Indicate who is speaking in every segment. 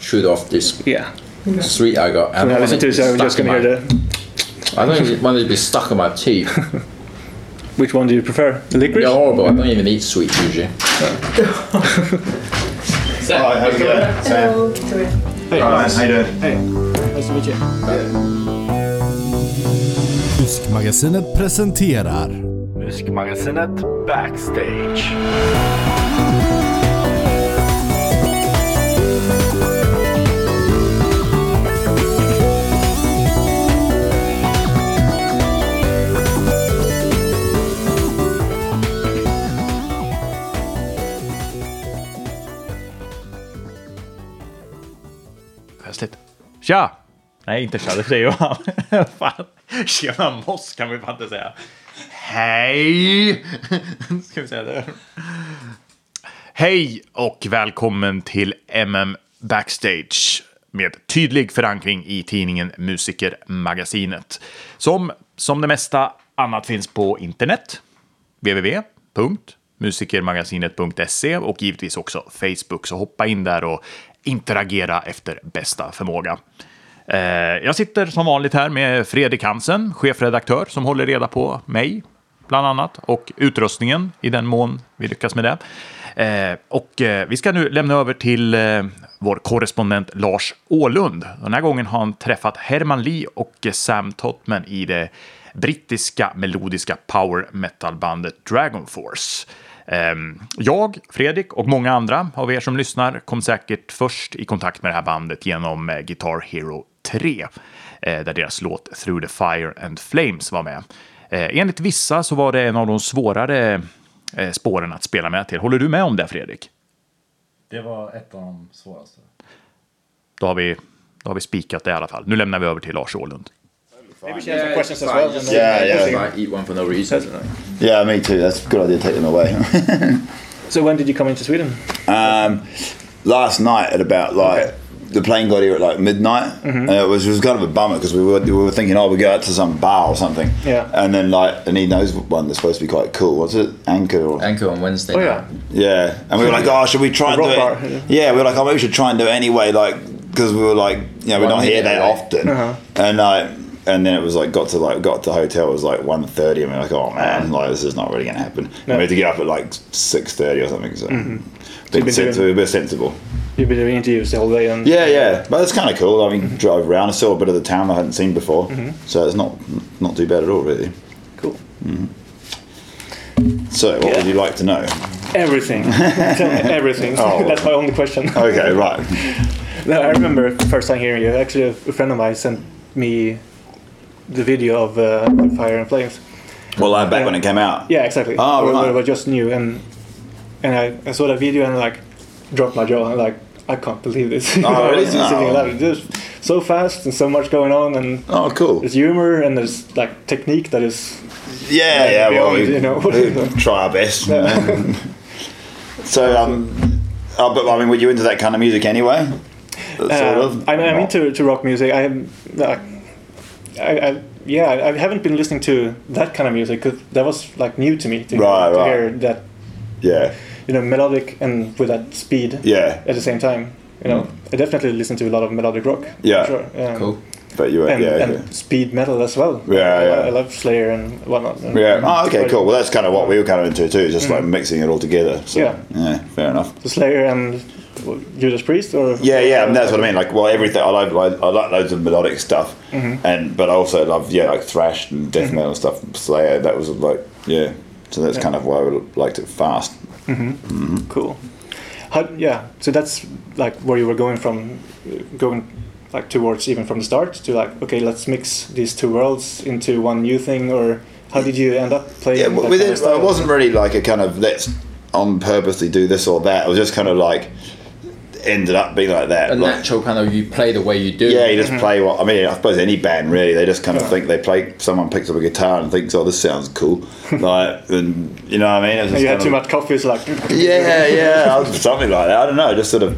Speaker 1: shoot off this
Speaker 2: Yeah.
Speaker 1: street I got. I
Speaker 2: When I
Speaker 1: don't
Speaker 2: listen
Speaker 1: want
Speaker 2: to
Speaker 1: it
Speaker 2: this, I'm
Speaker 1: stuck
Speaker 2: uh, just going to
Speaker 1: in
Speaker 2: hear
Speaker 1: my-
Speaker 2: the.
Speaker 1: I don't want it to be stuck in my teeth.
Speaker 2: Which one do you prefer? The licorice?
Speaker 1: They're horrible. I don't even eat sweet usually.
Speaker 3: Hi, how you doing? Sam. Hey, Ryan, how you doing?
Speaker 4: Fuskmagasinet presenterar
Speaker 5: Musikmagasinet Backstage.
Speaker 6: Festligt. Tja! Nej, inte tja, det säger Johan. fan. Tjena moss kan vi fan inte säga. Hej! Ska vi säga det? Hej och välkommen till MM Backstage med tydlig förankring i tidningen Musikermagasinet. Som, som det mesta annat finns på internet www.musikermagasinet.se och givetvis också Facebook. Så hoppa in där och interagera efter bästa förmåga. Eh, Jag sitter som vanligt här med Fredrik Hansen, chefredaktör som håller reda på mig, bland annat, och utrustningen i den mån vi lyckas med det. Eh, Och eh, vi ska nu lämna över till eh, vår korrespondent Lars Ålund. Den här gången har han träffat Herman Lee och eh, Sam Totman i det brittiska melodiska power metal-bandet Dragon Force. Ehm, Jag, Fredrik och många andra av er som lyssnar kom säkert först i kontakt med det här bandet genom eh, Guitar Hero 3, eh, där deras låt Through the Fire and Flames var med. Eh, Enligt vissa så var det en av de svårare eh, spåren att spela med till. Håller du med om det, Fredrik?
Speaker 7: Det var ett av de svåraste.
Speaker 6: Då har vi, då har vi spikat det i alla fall. Nu lämnar vi över till Lars Åhlund.
Speaker 1: Yeah, questions as well. Just
Speaker 3: Yeah, yeah.
Speaker 1: I eat one for no reason.
Speaker 3: Yeah, me too. That's a good idea to take them away.
Speaker 2: So when did you come into Sweden?
Speaker 3: um, last night at about like the plane got here at like midnight, and it was, it was kind of a bummer because we were, we were thinking, oh, we go out to some bar or something.
Speaker 2: Yeah.
Speaker 3: And then like, and he knows one that's supposed to be quite cool. What's it? Anchor or
Speaker 1: Anchor on
Speaker 2: Oh,
Speaker 1: Wednesday.
Speaker 3: Yeah, and we were like, oh, should we try and do
Speaker 2: rock
Speaker 3: it?
Speaker 2: bar, yeah.
Speaker 3: yeah. we were like, oh, maybe we should try and do it anyway, like because we were like, you know, we're
Speaker 1: One
Speaker 3: not here
Speaker 1: minute
Speaker 3: that
Speaker 1: away.
Speaker 3: often,
Speaker 2: Uh-huh.
Speaker 3: and like, and then it was like got to like got to hotel it was like 1.30 and we were like, oh
Speaker 2: Uh-huh.
Speaker 3: man, like this is not really gonna happen. And we had to get up at like six thirty or something. So.
Speaker 2: you've
Speaker 3: Bit
Speaker 2: been
Speaker 3: sensible,
Speaker 2: doing-
Speaker 3: a bit sensible.
Speaker 2: You've been doing interviews the whole day and
Speaker 3: Yeah, yeah, but it's kind of cool. I
Speaker 2: Mm-hmm.
Speaker 3: mean, drive around. I saw a bit of the town I hadn't seen before, so it's not not too bad at all, really. Mm-hmm.
Speaker 2: cool.
Speaker 3: So, what would you like to know?
Speaker 2: Everything. Tell me everything.
Speaker 3: Oh.
Speaker 2: That's my only question.
Speaker 3: Okay, right.
Speaker 2: No, I remember the first time hearing you. Actually, a friend of mine sent me the video of uh, Fire and Flames.
Speaker 3: Well, I'm back when it came out.
Speaker 2: Yeah, exactly.
Speaker 3: Oh,
Speaker 2: Or-
Speaker 3: right.
Speaker 2: or just new and and I, I saw that video and like dropped my jaw and like I can't believe this.
Speaker 3: Oh, really?
Speaker 2: It's just sitting
Speaker 3: No.
Speaker 2: alive. Just so fast and so much going on and
Speaker 3: Oh, cool.
Speaker 2: there's humor and there's like technique that is
Speaker 3: Yeah, yeah,
Speaker 2: we
Speaker 3: well,
Speaker 2: always,
Speaker 3: we,
Speaker 2: you know.
Speaker 3: we try our best. you know. so, um, oh, but I mean, were you into that kind of music anyway? Sort
Speaker 2: Uh,
Speaker 3: of.
Speaker 2: I'm, I'm into to rock music. I'm, like, I, I, yeah, I I haven't been listening to that kind of music 'cause that was like new to me to,
Speaker 3: Right,
Speaker 2: to
Speaker 3: right.
Speaker 2: hear that
Speaker 3: Yeah,
Speaker 2: you know melodic and with that speed
Speaker 3: yeah, Mm.
Speaker 2: at the same time. You know, I definitely listen to a lot of melodic rock. for
Speaker 3: Yeah.
Speaker 2: sure. Um,
Speaker 1: Cool.
Speaker 3: but you were,
Speaker 2: And,
Speaker 3: yeah,
Speaker 2: and
Speaker 3: yeah.
Speaker 2: speed metal as well.
Speaker 3: Yeah,
Speaker 2: I,
Speaker 3: yeah.
Speaker 2: I love Slayer and whatnot. And,
Speaker 3: Yeah. Oh, okay,
Speaker 2: but-
Speaker 3: cool. Well, that's kind of what we were kind of into too, just like mixing it all together. So,
Speaker 2: Mm. Yeah.
Speaker 3: fair enough.
Speaker 2: So Slayer and well, Judas Priest, or
Speaker 3: Yeah, yeah, and that's what I mean. Like, well, everything. I like, I, I like loads of melodic stuff,
Speaker 2: Mm-hmm.
Speaker 3: and but I also love yeah, like thrash and death metal stuff. Slayer. That was like yeah. So that's kind of why I liked it fast.
Speaker 2: Cool. How, yeah, so that's like where you were going from, uh, going like towards even from the start to like, okay, let's mix these two worlds into one new thing, or how did you end up playing?
Speaker 3: yeah,
Speaker 2: that
Speaker 3: with
Speaker 2: kind of
Speaker 3: it,
Speaker 2: style?
Speaker 3: it wasn't really like a kind of let's on purposely do this or that. It was just kind of like ended up being like that.
Speaker 1: A
Speaker 3: Like,
Speaker 1: natural kind of you play the way you do.
Speaker 3: yeah, you just
Speaker 2: Mm-hmm.
Speaker 3: play what I mean. I suppose any band really, they just kind of think they play. Someone picks up a guitar and thinks, "Oh, this sounds cool," like and you know what I mean. It was just
Speaker 2: You had
Speaker 3: kind
Speaker 2: too
Speaker 3: of-
Speaker 2: much coffee, it's like,
Speaker 3: Yeah, yeah, I was- something like that. I don't know. It Just sort of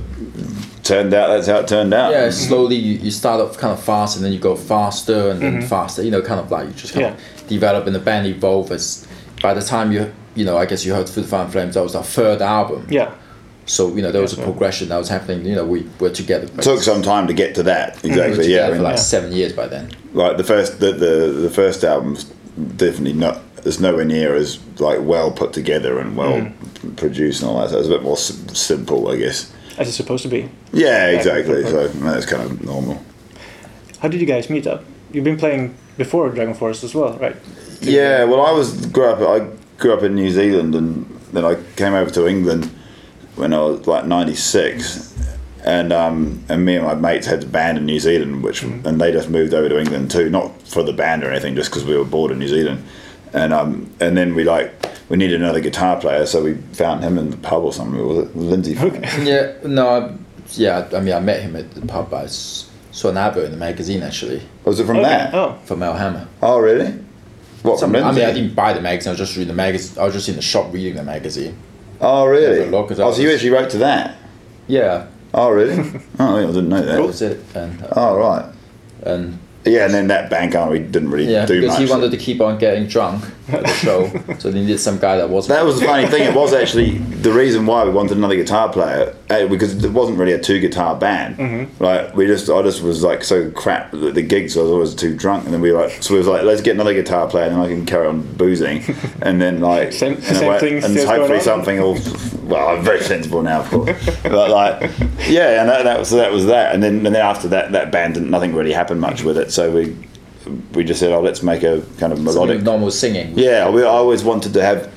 Speaker 3: turned out. That's how it turned out.
Speaker 1: Yeah, slowly you, you start off kind of fast and then you go faster and
Speaker 2: Mm-hmm.
Speaker 1: then faster. You know, kind of like you just kind of develop and the band evolve as by the time you you know, I guess you heard Food Fire and Flames, that was our third album.
Speaker 2: yeah,
Speaker 1: So you know there was a progression that was happening. You know we were together.
Speaker 3: It took some time to get to
Speaker 2: Mm-hmm.
Speaker 3: that.
Speaker 1: we were
Speaker 3: Exactly. Yeah. I
Speaker 1: together for
Speaker 3: mean,
Speaker 1: like seven years by then.
Speaker 3: like the first the, the the first album's definitely not it's nowhere near as like well put together and well produced and all that so it's a bit more sim- simple i guess
Speaker 2: as it's supposed to be.
Speaker 3: yeah exactly so that's kind of normal
Speaker 2: How did you guys meet up? You've been playing before Dragon Forest as well, right?
Speaker 3: yeah well i was grew up i grew up in new zealand and then i came over to england when i was like 96 and um, and me and my mates had the band in New Zealand, which and they just moved over to England too, not for the band or anything, just because we were bored in New Zealand. And um, and then we like we needed another guitar player, so we found him in the pub or something. Was it Lindsay?
Speaker 1: Yeah, no, I, yeah. I mean, I met him at the pub. I s- saw an advert in the magazine actually
Speaker 3: Was it from that?
Speaker 2: Oh,
Speaker 1: for Mel Hammer.
Speaker 3: Oh, really? What
Speaker 1: Some-
Speaker 3: from
Speaker 1: I
Speaker 3: Lindsay?
Speaker 1: mean, I didn't buy the magazine. I was just reading the magazine. I was just in the shop reading the magazine.
Speaker 3: oh, really?
Speaker 1: Yeah, but look, 'cause I
Speaker 3: oh, so you
Speaker 1: was-
Speaker 3: actually wrote to that?
Speaker 1: Yeah,
Speaker 3: Oh, really? oh, yeah, I didn't know that.
Speaker 1: that was it. And
Speaker 3: Oh, right.
Speaker 1: and
Speaker 3: Yeah, and then that band kind of we didn't really
Speaker 1: yeah,
Speaker 3: do
Speaker 1: because
Speaker 3: much.
Speaker 1: he wanted to keep on getting drunk at the show, so they needed some guy that wasn't.
Speaker 3: That was the funny thing. It was actually the reason why we wanted another guitar player eh, because it wasn't really a two guitar band.
Speaker 2: Mm-hmm.
Speaker 3: Like we just, I just was like so crap at the gigs. I was always too drunk, and then we were like, so we was like, let's get another guitar player, and then I can carry on boozing, and then like
Speaker 2: Same-
Speaker 3: and,
Speaker 2: same
Speaker 3: wait-
Speaker 2: thing
Speaker 3: and
Speaker 2: still
Speaker 3: hopefully
Speaker 2: going on.
Speaker 3: something will. Well, I'm very sensible now, of course, but like, yeah, and that, that was that was that, and then and then after that, that band didn't, nothing really happened much with it, so we. We just said, "Oh, let's make a kind of melodic
Speaker 1: Something normal singing.
Speaker 3: yeah, we, I always wanted to have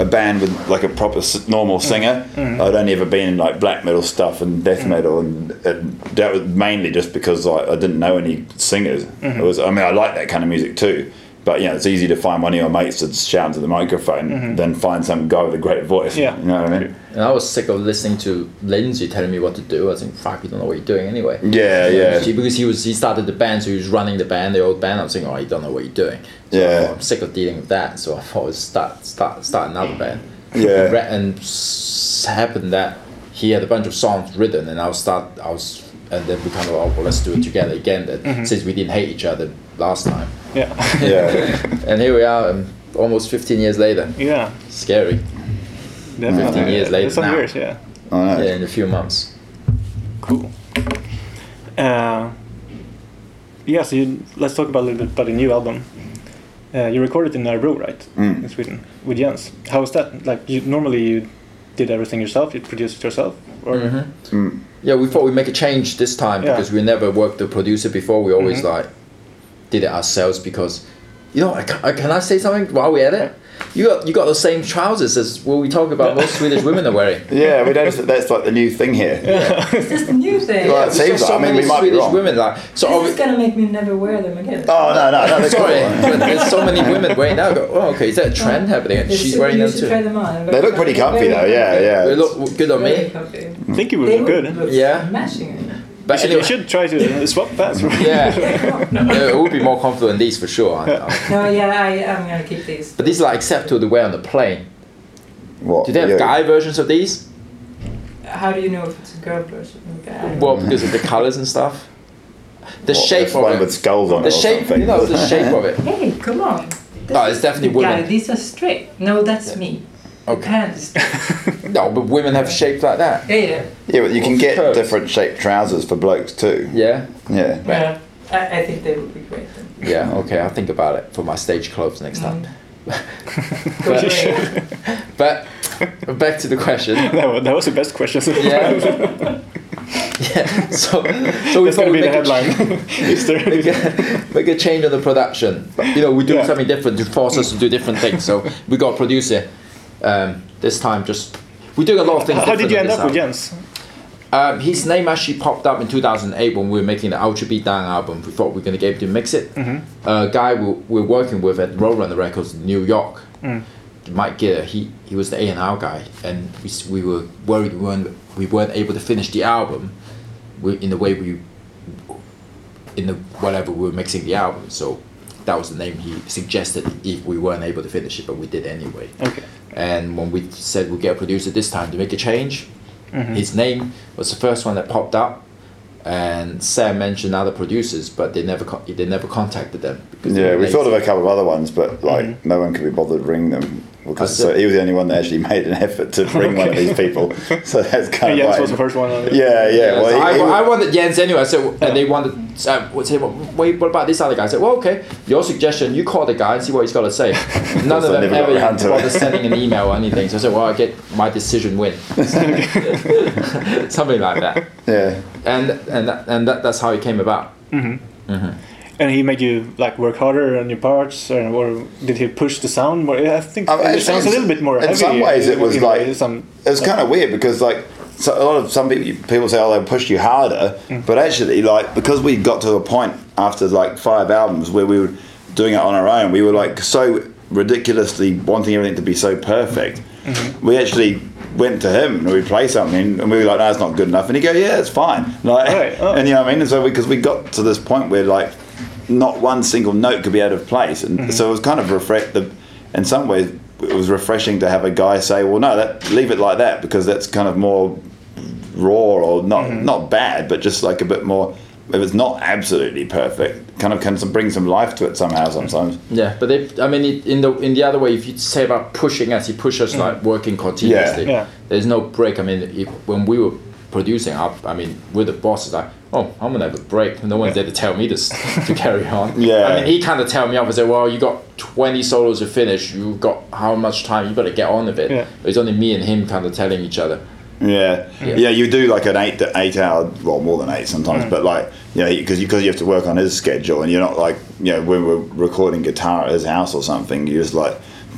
Speaker 3: a band with like a proper s- normal singer. I'd only ever been in like black metal stuff and death metal, and, and that was mainly just because I, I didn't know any singers. It was, I mean, I like that kind of music too, but you know, it's easy to find one of your mates that's shouting to the microphone than find some guy with a great voice.
Speaker 2: Yeah.
Speaker 3: you know what I mean?
Speaker 1: And I was sick of listening to Lindsay telling me what to do. I was like, fuck, you don't know what you're doing anyway.
Speaker 3: Yeah, yeah.
Speaker 1: She- because he was he started the band, so he was running the band, the old band. I was thinking, oh, you don't know what you're doing. So I
Speaker 3: Yeah.
Speaker 1: thought, I'm sick of dealing with that, so I thought, I'd start start start another band.
Speaker 3: Yeah.
Speaker 1: And, re- and s- happened that he had a bunch of songs written, and I was start I was and then we kind of oh well, let's do it together again. Then since we didn't hate each other last time,
Speaker 2: yeah,
Speaker 3: Yeah,
Speaker 1: and here we are, um, almost 15 years later.
Speaker 2: yeah,
Speaker 1: Scary.
Speaker 2: definitely.
Speaker 1: 15 years later
Speaker 2: Some
Speaker 1: now.
Speaker 2: years, yeah.
Speaker 3: I know.
Speaker 1: Yeah, in a few months.
Speaker 2: Cool. Uh, yeah, so you, let's talk about a little bit about the new album. Uh, you recorded in Örebro, right? In Sweden, with Jens. How was that? Like, you, normally you did everything yourself. You produced it yourself, or
Speaker 1: Yeah, we thought we'd make a change this time
Speaker 2: Yeah.
Speaker 1: because we never worked the producer before. We always
Speaker 3: Mm-hmm.
Speaker 1: like did it ourselves because, you know, I ca- I- can I say something while we're at it? You got you got the same trousers as what we talk about most Swedish women are wearing.
Speaker 3: yeah. We noticed that that's like the new thing here.
Speaker 8: It's just a new thing.
Speaker 3: Well, it
Speaker 1: There's
Speaker 3: seems
Speaker 1: so
Speaker 3: like. I mean,
Speaker 1: many
Speaker 3: we might be
Speaker 1: Swedish
Speaker 3: wrong.
Speaker 1: women like so.
Speaker 8: This is
Speaker 1: obvi-
Speaker 8: gonna make me never wear them again.
Speaker 3: Oh no, no, no. That's
Speaker 1: Sorry,
Speaker 3: cool.
Speaker 1: but there's so many women wearing that. I go, oh, okay, is that a trend happening? And
Speaker 8: You
Speaker 1: she's
Speaker 8: should-
Speaker 1: wearing
Speaker 8: you
Speaker 1: them
Speaker 8: should
Speaker 1: too.
Speaker 8: Try them on.
Speaker 3: They look pretty comfy though. Yeah, yeah.
Speaker 1: They look good on
Speaker 8: Very
Speaker 1: me.
Speaker 8: comfy.
Speaker 2: I think it would
Speaker 8: They
Speaker 2: look
Speaker 8: look
Speaker 2: good.
Speaker 8: look
Speaker 1: Yeah.
Speaker 8: Matching it.
Speaker 1: But
Speaker 2: You
Speaker 1: anyway,
Speaker 2: should try to swap that.
Speaker 1: yeah, Yeah, it would be more comfortable than these for sure. I- I-
Speaker 8: No, yeah, I, I'm gonna keep these.
Speaker 1: But these are like acceptable to wear on the plane.
Speaker 3: What?
Speaker 1: Do they have
Speaker 3: yeah.
Speaker 1: guy versions of these?
Speaker 8: How do you know if it's a girl version or a guy?
Speaker 1: Well, because of the colours and stuff. The
Speaker 3: What,
Speaker 1: shape
Speaker 3: that's one
Speaker 1: of
Speaker 3: with
Speaker 1: it.
Speaker 3: skulls on
Speaker 1: The
Speaker 3: it or
Speaker 1: shape,
Speaker 3: something.
Speaker 1: you know, the shape of it.
Speaker 8: Hey, come on.
Speaker 1: No, Oh, it's definitely
Speaker 8: the guy.
Speaker 1: women.
Speaker 8: These are straight. No, that's me. The
Speaker 1: Okay.
Speaker 8: pants. Yeah,
Speaker 1: No, but women have shapes like that.
Speaker 8: yeah.
Speaker 3: Yeah, but you can get
Speaker 1: Curves.
Speaker 3: different shaped trousers for blokes too.
Speaker 1: Yeah,
Speaker 3: Yeah.
Speaker 8: yeah. I, I think they would be great. Then.
Speaker 1: yeah. Okay, I'll think about it for my stage clothes next time.
Speaker 2: Mm.
Speaker 8: Go
Speaker 1: But-
Speaker 8: away.
Speaker 1: But back to the question.
Speaker 2: that, was, that was the best question. so far.
Speaker 1: Yeah. yeah. So, so we thought
Speaker 2: That's gonna be
Speaker 1: we'd
Speaker 2: the
Speaker 1: make a,
Speaker 2: headline. Is there-
Speaker 1: make a change on the production. But, you know, we do
Speaker 2: Yeah.
Speaker 1: something different to force us to do different things. So we got a producer. Um, this time, just we're doing a lot of things.
Speaker 2: How did
Speaker 1: different
Speaker 2: you
Speaker 1: on
Speaker 2: end
Speaker 1: this
Speaker 2: up with
Speaker 1: album.
Speaker 2: Jens?
Speaker 1: Um, his name actually popped up in 2008 when we were making the Ultra Beat Down album. We thought we were going to get him to mix it. A guy we we we're working with at Roadrunner Records in New York, Mike Gitter, he, he was the A&R guy. And we, s- we were worried we weren't, we weren't able to finish the album we, in the way we, in the whatever we were mixing the album. So that was the name he suggested if we weren't able to finish it, but we did anyway.
Speaker 2: Okay.
Speaker 1: And when we said we'll get a producer this time to make a change, his name was the first one that popped up. And Sam mentioned other producers, but they never con- they never contacted them. Because they
Speaker 3: Yeah,
Speaker 1: were
Speaker 3: we
Speaker 1: lazy.
Speaker 3: thought of a couple of other ones, but like no one could be bothered to ring them. because so he was the only one that actually made an effort to bring one of these people. So that's kind
Speaker 2: And
Speaker 3: of
Speaker 2: Jens
Speaker 3: like,
Speaker 2: was the first one. on it.
Speaker 3: Yeah, yeah. well,
Speaker 1: so
Speaker 3: he-
Speaker 1: I,
Speaker 3: he-
Speaker 1: I wanted Jens anyway, so and they wanted. Uh, would say, well, wait, what about this other guy? I said, well, okay, your suggestion. You call the guy and see what he's got to say. None of
Speaker 3: So I
Speaker 1: them
Speaker 3: never got
Speaker 1: ever
Speaker 3: around to
Speaker 1: bothered
Speaker 3: it.
Speaker 1: sending an email or anything. So I said, well, I get my decision win, something like that.
Speaker 3: yeah.
Speaker 1: And and that, and that, that's how it came about.
Speaker 2: And he made you like work harder on your parts, or, or did he push the sound more? I think
Speaker 3: Um,
Speaker 2: it
Speaker 3: actually,
Speaker 2: sounds a little bit more
Speaker 3: in
Speaker 2: heavy.
Speaker 3: some ways it
Speaker 2: in-
Speaker 3: was
Speaker 2: in um, uh, a way,
Speaker 3: like-
Speaker 2: some
Speaker 3: It's kind of weird because like so a lot of some people people say oh they pushed you harder,
Speaker 2: Mm.
Speaker 3: but actually like because we got to a point after like five albums where we were doing it on our own, we were like so ridiculously wanting everything to be so perfect.
Speaker 2: Mm-hmm.
Speaker 3: We actually went to him and we play something and we were like no it's not good enough and he go yeah it's fine like
Speaker 2: Right, oh.
Speaker 3: and you know what I mean and so because we got to this point where like not one single note could be out of place and so it was kind of reflect the in some ways it was refreshing to have a guy say well no that leave it like that because that's kind of more raw or not not bad but just like a bit more if it's not absolutely perfect kind of can some, bring some life to it somehow sometimes
Speaker 1: Yeah, but they, I mean, it, in the in the other way, if you say about pushing us, he pushed us like working continuously.
Speaker 2: Yeah.
Speaker 1: There's no break. I mean, if, when we were producing, I, I mean, with the boss, it's like, oh, I'm gonna have a break. No one's there to tell me this to carry on.
Speaker 3: Yeah.
Speaker 1: I mean, he kind of tell me off and say, well, you got 20 solos to finish. You got how much time? You better get on with it.
Speaker 2: Yeah.
Speaker 1: It's only me and him kind of telling each other.
Speaker 3: Yeah. yeah, You do like an eight to eight hour, well, more than eight sometimes,
Speaker 1: Mm.
Speaker 3: but like you know, because because you have to work on his schedule, and you're not like you know when we're recording guitar at his house or something, you just like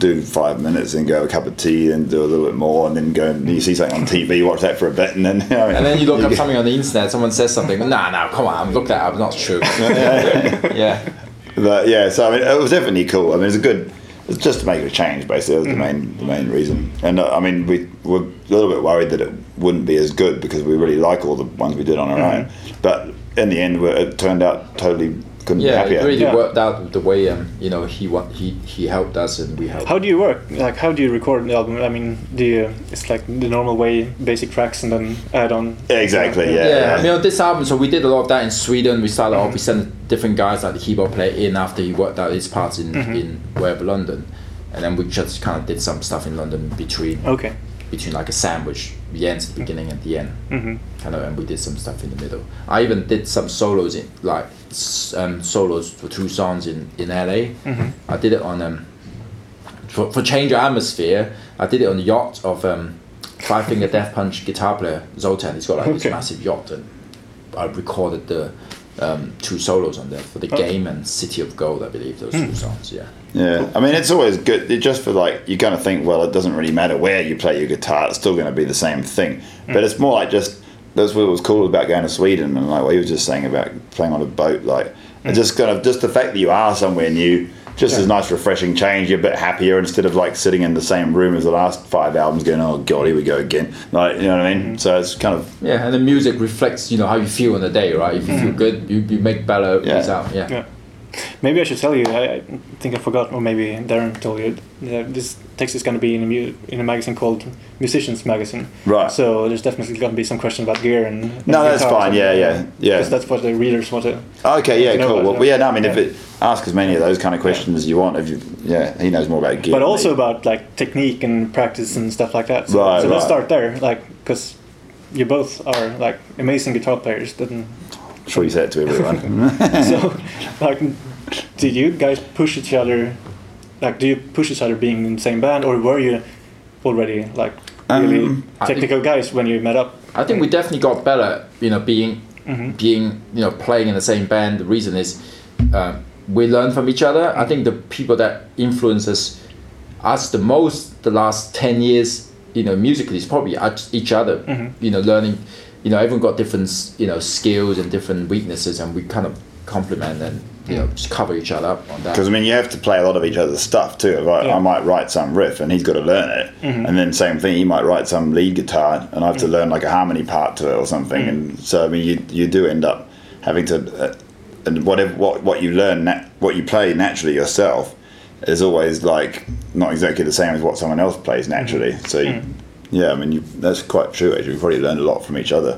Speaker 3: do five minutes and go have a cup of tea and do a little bit more, and then go and you see something on TV, watch that for a bit, and then you know,
Speaker 1: And then you look up
Speaker 3: get-
Speaker 1: something on the internet. Someone says something. Nah, nah, come on, look that up. Not true. yeah.
Speaker 3: But yeah, so I mean, it was definitely cool. I mean, it's a good. It's just to make a change, basically. That was the main the main reason. And uh, I mean, we were a little bit worried that it wouldn't be as good because we really like all the ones we did on our own. But in the end, we it turned out totally couldn't
Speaker 1: Yeah,
Speaker 3: be happier.
Speaker 1: it really
Speaker 2: Yeah.
Speaker 1: worked out the way um, you know he wa- he he helped us and we helped.
Speaker 2: How do you work? Like, how do you record the album? I mean, do you? It's like the normal way, basic tracks, and then add on.
Speaker 3: Exactly. Yeah.
Speaker 1: yeah, I
Speaker 3: yeah.
Speaker 1: mean on this album, so we did a lot of that in Sweden. We started off, we
Speaker 2: Mm-hmm.
Speaker 1: sent different guys like the keyboard player in after he worked out his parts in
Speaker 2: Mm-hmm.
Speaker 1: in wherever London, and then we just kind of did some stuff in London between
Speaker 2: Okay.
Speaker 1: between like a sandwich, the ends at the beginning and the end, kind of, and we did some stuff in the middle. I even did some solos in like s- um, solos for two songs in in LA. I did it on um for, for change of atmosphere. I did it on the yacht of um, Five Finger Death Punch guitar player Zoltan. He's got like
Speaker 2: Okay.
Speaker 1: this massive yacht, and I recorded the um, two solos on there for the game and City of Gold, I believe those two songs. Yeah.
Speaker 3: Yeah, I mean it's always good. It just for like you kind of think, well, it doesn't really matter where you play your guitar; it's still going to be the same thing.
Speaker 2: Hmm.
Speaker 3: But it's more like just that's what was cool about going to Sweden and like what you were just saying about playing on a boat. Like
Speaker 2: Hmm.
Speaker 3: it just kind of just the fact that you are somewhere new, just as nice, refreshing change. You're a bit happier instead of like sitting in the same room as the last five albums, going, oh god, here we go again. Like you know what I
Speaker 2: Hmm.
Speaker 3: mean? So it's kind of
Speaker 1: Yeah, and the music reflects, you know, how you feel on the day, right? If you feel good, you, you make better
Speaker 3: Yeah.
Speaker 1: results. Yeah.
Speaker 2: Yeah. Maybe I should tell you. I, I think I forgot, or maybe Darren told you. That this text is going to be in a mu- in a magazine called Musicians Magazine.
Speaker 3: Right.
Speaker 2: So there's definitely going to be some question about gear and. and
Speaker 3: No, that's
Speaker 2: guitars
Speaker 3: fine.
Speaker 2: and-
Speaker 3: Yeah, yeah, yeah.
Speaker 2: Because that's what the readers want to.
Speaker 3: okay. Yeah,
Speaker 2: You know
Speaker 3: cool.
Speaker 2: what,
Speaker 3: Well,
Speaker 2: yeah.
Speaker 3: yeah, no, I mean, if
Speaker 2: Yeah.
Speaker 3: it ask as many of those kind of questions you want, if you yeah, he knows more about gear.
Speaker 2: But
Speaker 3: than me.
Speaker 2: also about like technique and practice and stuff like that. So,
Speaker 3: Right,
Speaker 2: so let's
Speaker 3: right.
Speaker 2: start there, like because you both are like amazing guitar players. Didn't
Speaker 3: sure you said it to everyone.
Speaker 2: so like did you guys push each other like do you push each other being in the same band or were you already like
Speaker 3: Um,
Speaker 2: really
Speaker 1: I-
Speaker 2: technical guys when you met up
Speaker 1: I think we definitely got better, you know, being being you know playing in the same band. The reason is um, we learn from each other. I think the people that influences us the most the last ten years, you know, musically is probably at each other. You know, learning. You know, everyone got different s- you know skills and different weaknesses, and we kind of complement and you know just cover each other up on that.
Speaker 3: Because I mean, you have to play a lot of each other's stuff too. If I,
Speaker 2: Yeah.
Speaker 3: I might write some riff, and he's got to learn it, and then same thing, he might write some lead guitar, and I have to learn like a harmony part to it or something. And so I mean, you you do end up having to, uh, and whatever what what you learn, nat- what you play naturally yourself, is always like not exactly the same as what someone else plays naturally. So. You, Yeah, I mean you, that's quite true. Actually, we probably learned a lot from each other.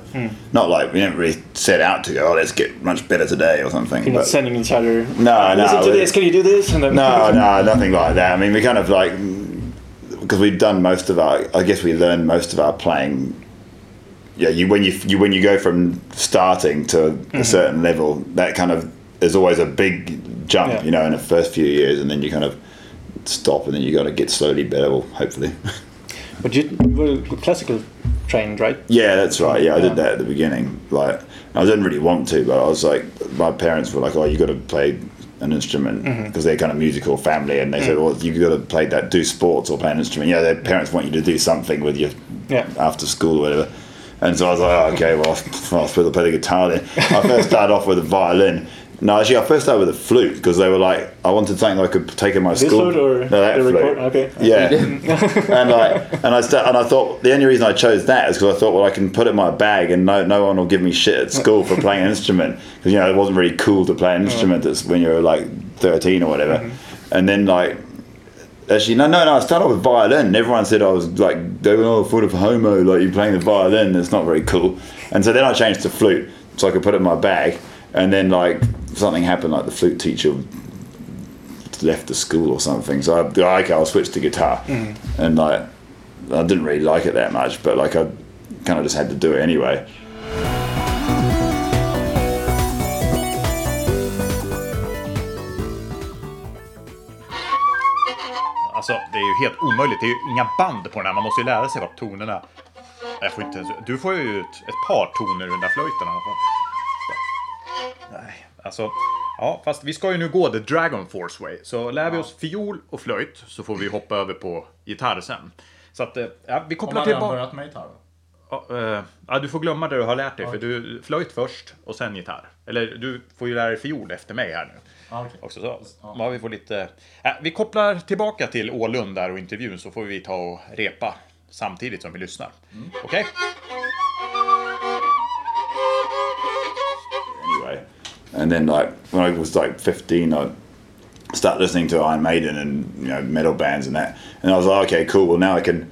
Speaker 3: Not like we didn't really set out to go. Oh, let's get much better today or something.
Speaker 2: you're not
Speaker 3: but-
Speaker 2: sending each other
Speaker 3: no, no,
Speaker 2: listen to
Speaker 3: we-
Speaker 2: this can you do this and then
Speaker 3: no, no, nothing like that. I mean, we kind of like because we've done most of our. I guess we learned most of our playing. Yeah, you when you, you when you go from starting to a certain level, that kind of is always a big jump,
Speaker 2: Yeah.
Speaker 3: you know, in the first few years, and then you kind of stop, and then you got to get slowly better, well, hopefully.
Speaker 2: But you were classical trained, right?
Speaker 3: Yeah, that's right. Yeah, I
Speaker 2: Yeah.
Speaker 3: did that at the beginning. Like, I didn't really want to, but I was like, my parents were like, "Oh, you got to play an instrument," because
Speaker 2: Mm-hmm.
Speaker 3: they're kind of musical family, and they said,
Speaker 2: Mm.
Speaker 3: "Well, you got to play that, do sports or play an instrument." Yeah, their parents want you to do something with your
Speaker 2: Yeah.
Speaker 3: after school or whatever. And so I was like, oh, "Okay, well, I'll supposed to play the guitar then." I first started off with a violin. No, actually, I first started with a flute because they were like, I wanted something I could take in my
Speaker 2: This
Speaker 3: school.
Speaker 2: flute or
Speaker 3: no, that
Speaker 2: the
Speaker 3: flute.
Speaker 2: record? Okay.
Speaker 3: Yeah and like, and I sta- and I thought the only reason I chose that is because I thought, well, I can put it in my bag, and no, no one will give me shit at school for playing an instrument because you know it wasn't really cool to play an instrument that's when you were like thirteen or whatever. And then like, actually, no, no, no, I started off with violin. and Everyone said I was like, they were all full of homo, like you playing the violin. It's not very cool. And so then I changed to flute, so I could put it in my bag. And then like something happened, like the flute teacher left the school or something. So I, okay, I'll switch to guitar, and like I didn't really like it that much, but like I kind of just had to do it anyway.
Speaker 6: Alltså, det är ju helt omöjligt. Det är ju inga band på den här. Man måste ju lära sig vad tonerna... Jag får inte ens... Du får ju ut ett par toner ur den där flöjten i alla fall. Nej, alltså... Ja, fast vi ska ju nu gå The Dragon Force Way. Så lär vi oss fiol och flöjt så får vi hoppa över på gitarr sen. Så att, eh, ja, vi
Speaker 7: Om
Speaker 6: kopplar
Speaker 7: man
Speaker 6: till...
Speaker 7: redan börjat med gitarr?
Speaker 6: Ja, eh, ja, du får glömma det du har lärt dig, för du flöjt först och sen gitarr. Eller du får ju lära dig fiol efter mig här nu.
Speaker 7: Ja, okej.
Speaker 6: Också så.
Speaker 7: Ja.
Speaker 6: Ja, vi, får lite... Ja, vi kopplar tillbaka till Ålund där och intervjun så får vi ta och repa samtidigt som vi lyssnar.
Speaker 7: Mm.
Speaker 6: Okej?
Speaker 3: Anyway, and then like when I was like fifteen, I started listening to Iron Maiden and you know metal bands and that, and I was like, okay, cool. Well, now I can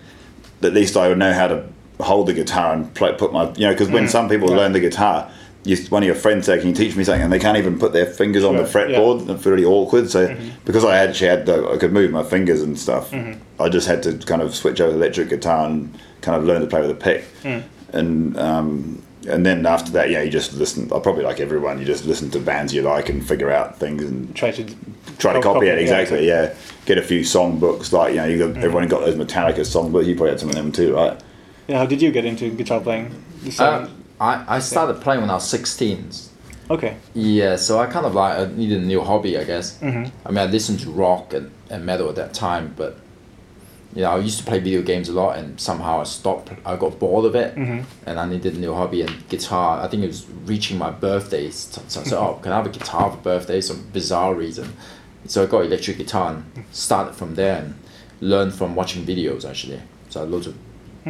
Speaker 3: at least I would know how to hold the guitar and play, put my you know because
Speaker 2: Mm.
Speaker 3: when some people learn the guitar. You, one of your friends say, "Can you teach me something?" and they can't even put their fingers on the
Speaker 2: Sure, yeah. Mm-hmm.
Speaker 3: fretboard. and It's really awkward. So, because I actually had the, I could move my fingers and stuff,
Speaker 2: Mm-hmm.
Speaker 3: I just had to kind of switch over to electric guitar and kind of learn to play with a pick.
Speaker 2: Mm.
Speaker 3: And um, and then after that, yeah, you just listen. I probably like everyone. You just listen to bands you like and figure out things and
Speaker 2: Try to
Speaker 3: try to
Speaker 2: co-
Speaker 3: copy it
Speaker 2: yeah,
Speaker 3: exactly. Mm-hmm. Yeah, get a few songbooks. Like you know, you got, everyone got those Metallica songbooks. You probably had some of them too, right?
Speaker 2: Yeah, how did you get into guitar playing? The
Speaker 1: Uh,
Speaker 2: sound-
Speaker 1: I, I started playing when I was 16.
Speaker 2: okay.
Speaker 1: Yeah, so I kind of like I needed a new hobby, I guess. I mean, I listened to rock and, and metal at that time, but you know, I used to play video games a lot, and somehow I stopped. I got bored of it, and I needed a new hobby. And guitar, I think it was reaching my birthday, so so I said, "Oh, can I have a guitar for birthday?" Some bizarre reason. So I got electric guitar and started from there and learned from watching videos actually. So I had loads of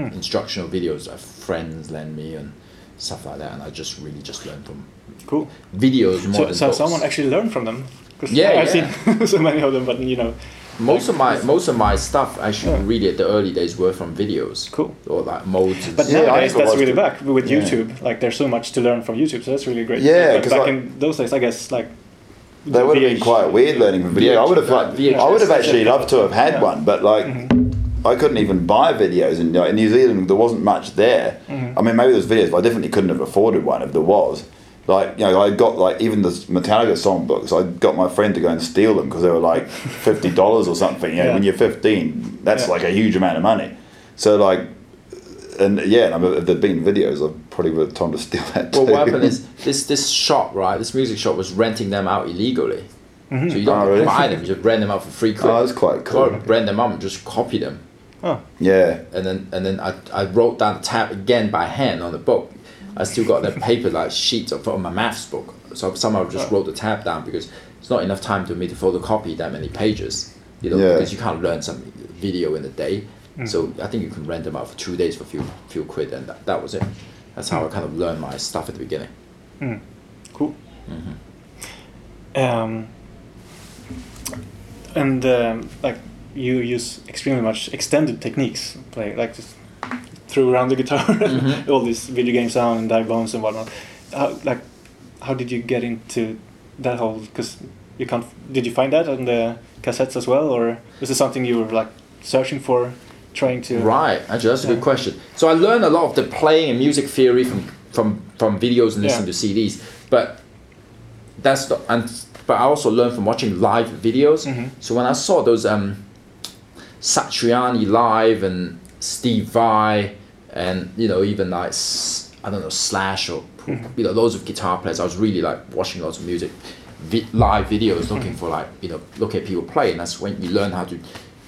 Speaker 1: instructional videos that friends lend me and stuff like that, and I just really just learned from
Speaker 2: Cool.
Speaker 1: videos more
Speaker 2: So,
Speaker 1: than
Speaker 2: so
Speaker 1: books.
Speaker 2: someone actually learned from them. 'Cause
Speaker 1: Yeah,
Speaker 2: I've
Speaker 1: yeah.
Speaker 2: seen so many of them, but you know,
Speaker 1: most of my most of my stuff actually
Speaker 2: Yeah.
Speaker 1: really at the early days were from videos
Speaker 2: Cool.
Speaker 1: or like modes and
Speaker 2: But
Speaker 1: stuff.
Speaker 3: Yeah, I
Speaker 2: nowadays
Speaker 3: never
Speaker 2: that's
Speaker 3: watched
Speaker 2: really
Speaker 3: it.
Speaker 2: back with
Speaker 3: Yeah.
Speaker 2: YouTube. Like there's so much to learn from YouTube, so that's really great.
Speaker 3: Yeah,
Speaker 2: But
Speaker 3: 'cause
Speaker 2: back
Speaker 3: like-
Speaker 2: in those days, I guess like
Speaker 3: That would have been quite weird learning from video. I would have like,
Speaker 1: VHS.
Speaker 3: I would have actually loved to have had one, but like, I couldn't even buy videos. And like, in New Zealand, there wasn't much there. I mean, maybe there was videos, but I definitely couldn't have afforded one if there was. Like, you know, I got like even the Metallica songbooks. I got my friend to go and steal them because they were like fifty dollars or something. You know,
Speaker 2: Yeah.
Speaker 3: when you're fifteen, that's
Speaker 2: Yeah.
Speaker 3: like a huge amount of money. So like, and yeah, and I mean, if there'd been videos, I probably would have time to steal that.
Speaker 1: well,
Speaker 3: too.
Speaker 1: what happened is this this shop right, this music shop was renting them out illegally.
Speaker 2: Mm-hmm.
Speaker 1: So you don't
Speaker 3: Oh, really?
Speaker 1: buy them, you just rent them out for free. Quid.
Speaker 3: Oh, that's quite cool.
Speaker 1: Or rent them out and just copy them,
Speaker 3: yeah.
Speaker 1: and then and then I, I wrote down the tab again by hand on the book. I still got the paper like sheets of on my maths book, so somehow I just wrote the tab down because it's not enough time for me to photocopy that many pages. You know,
Speaker 3: Yeah.
Speaker 1: because you can't learn some video in a day. So I think you can rent them out for two days for few few quid, and that, that was it. That's how I kind of learned my stuff at the beginning.
Speaker 2: cool. Um, and um, like you use extremely much extended techniques, play like just throw around the guitar, all these video game sound and dive bombs and whatnot. How, like, how did you get into that whole? Because you can't. Did you find that on the cassettes as well, or was it something you were like searching for trying to.
Speaker 1: Right. Actually, that's a good question. So I learned a lot of the playing and music theory from from from videos and listening
Speaker 2: Yeah.
Speaker 1: to CDs, but that's the and but I also learned from watching live videos.
Speaker 2: Mm-hmm.
Speaker 1: So when I saw those um, Satriani live and Steve Vai and you know even like S- I don't know Slash or you know loads of guitar players, I was really like watching lots of music. Vi- live videos looking for like you know look at people play and that's when you learn how to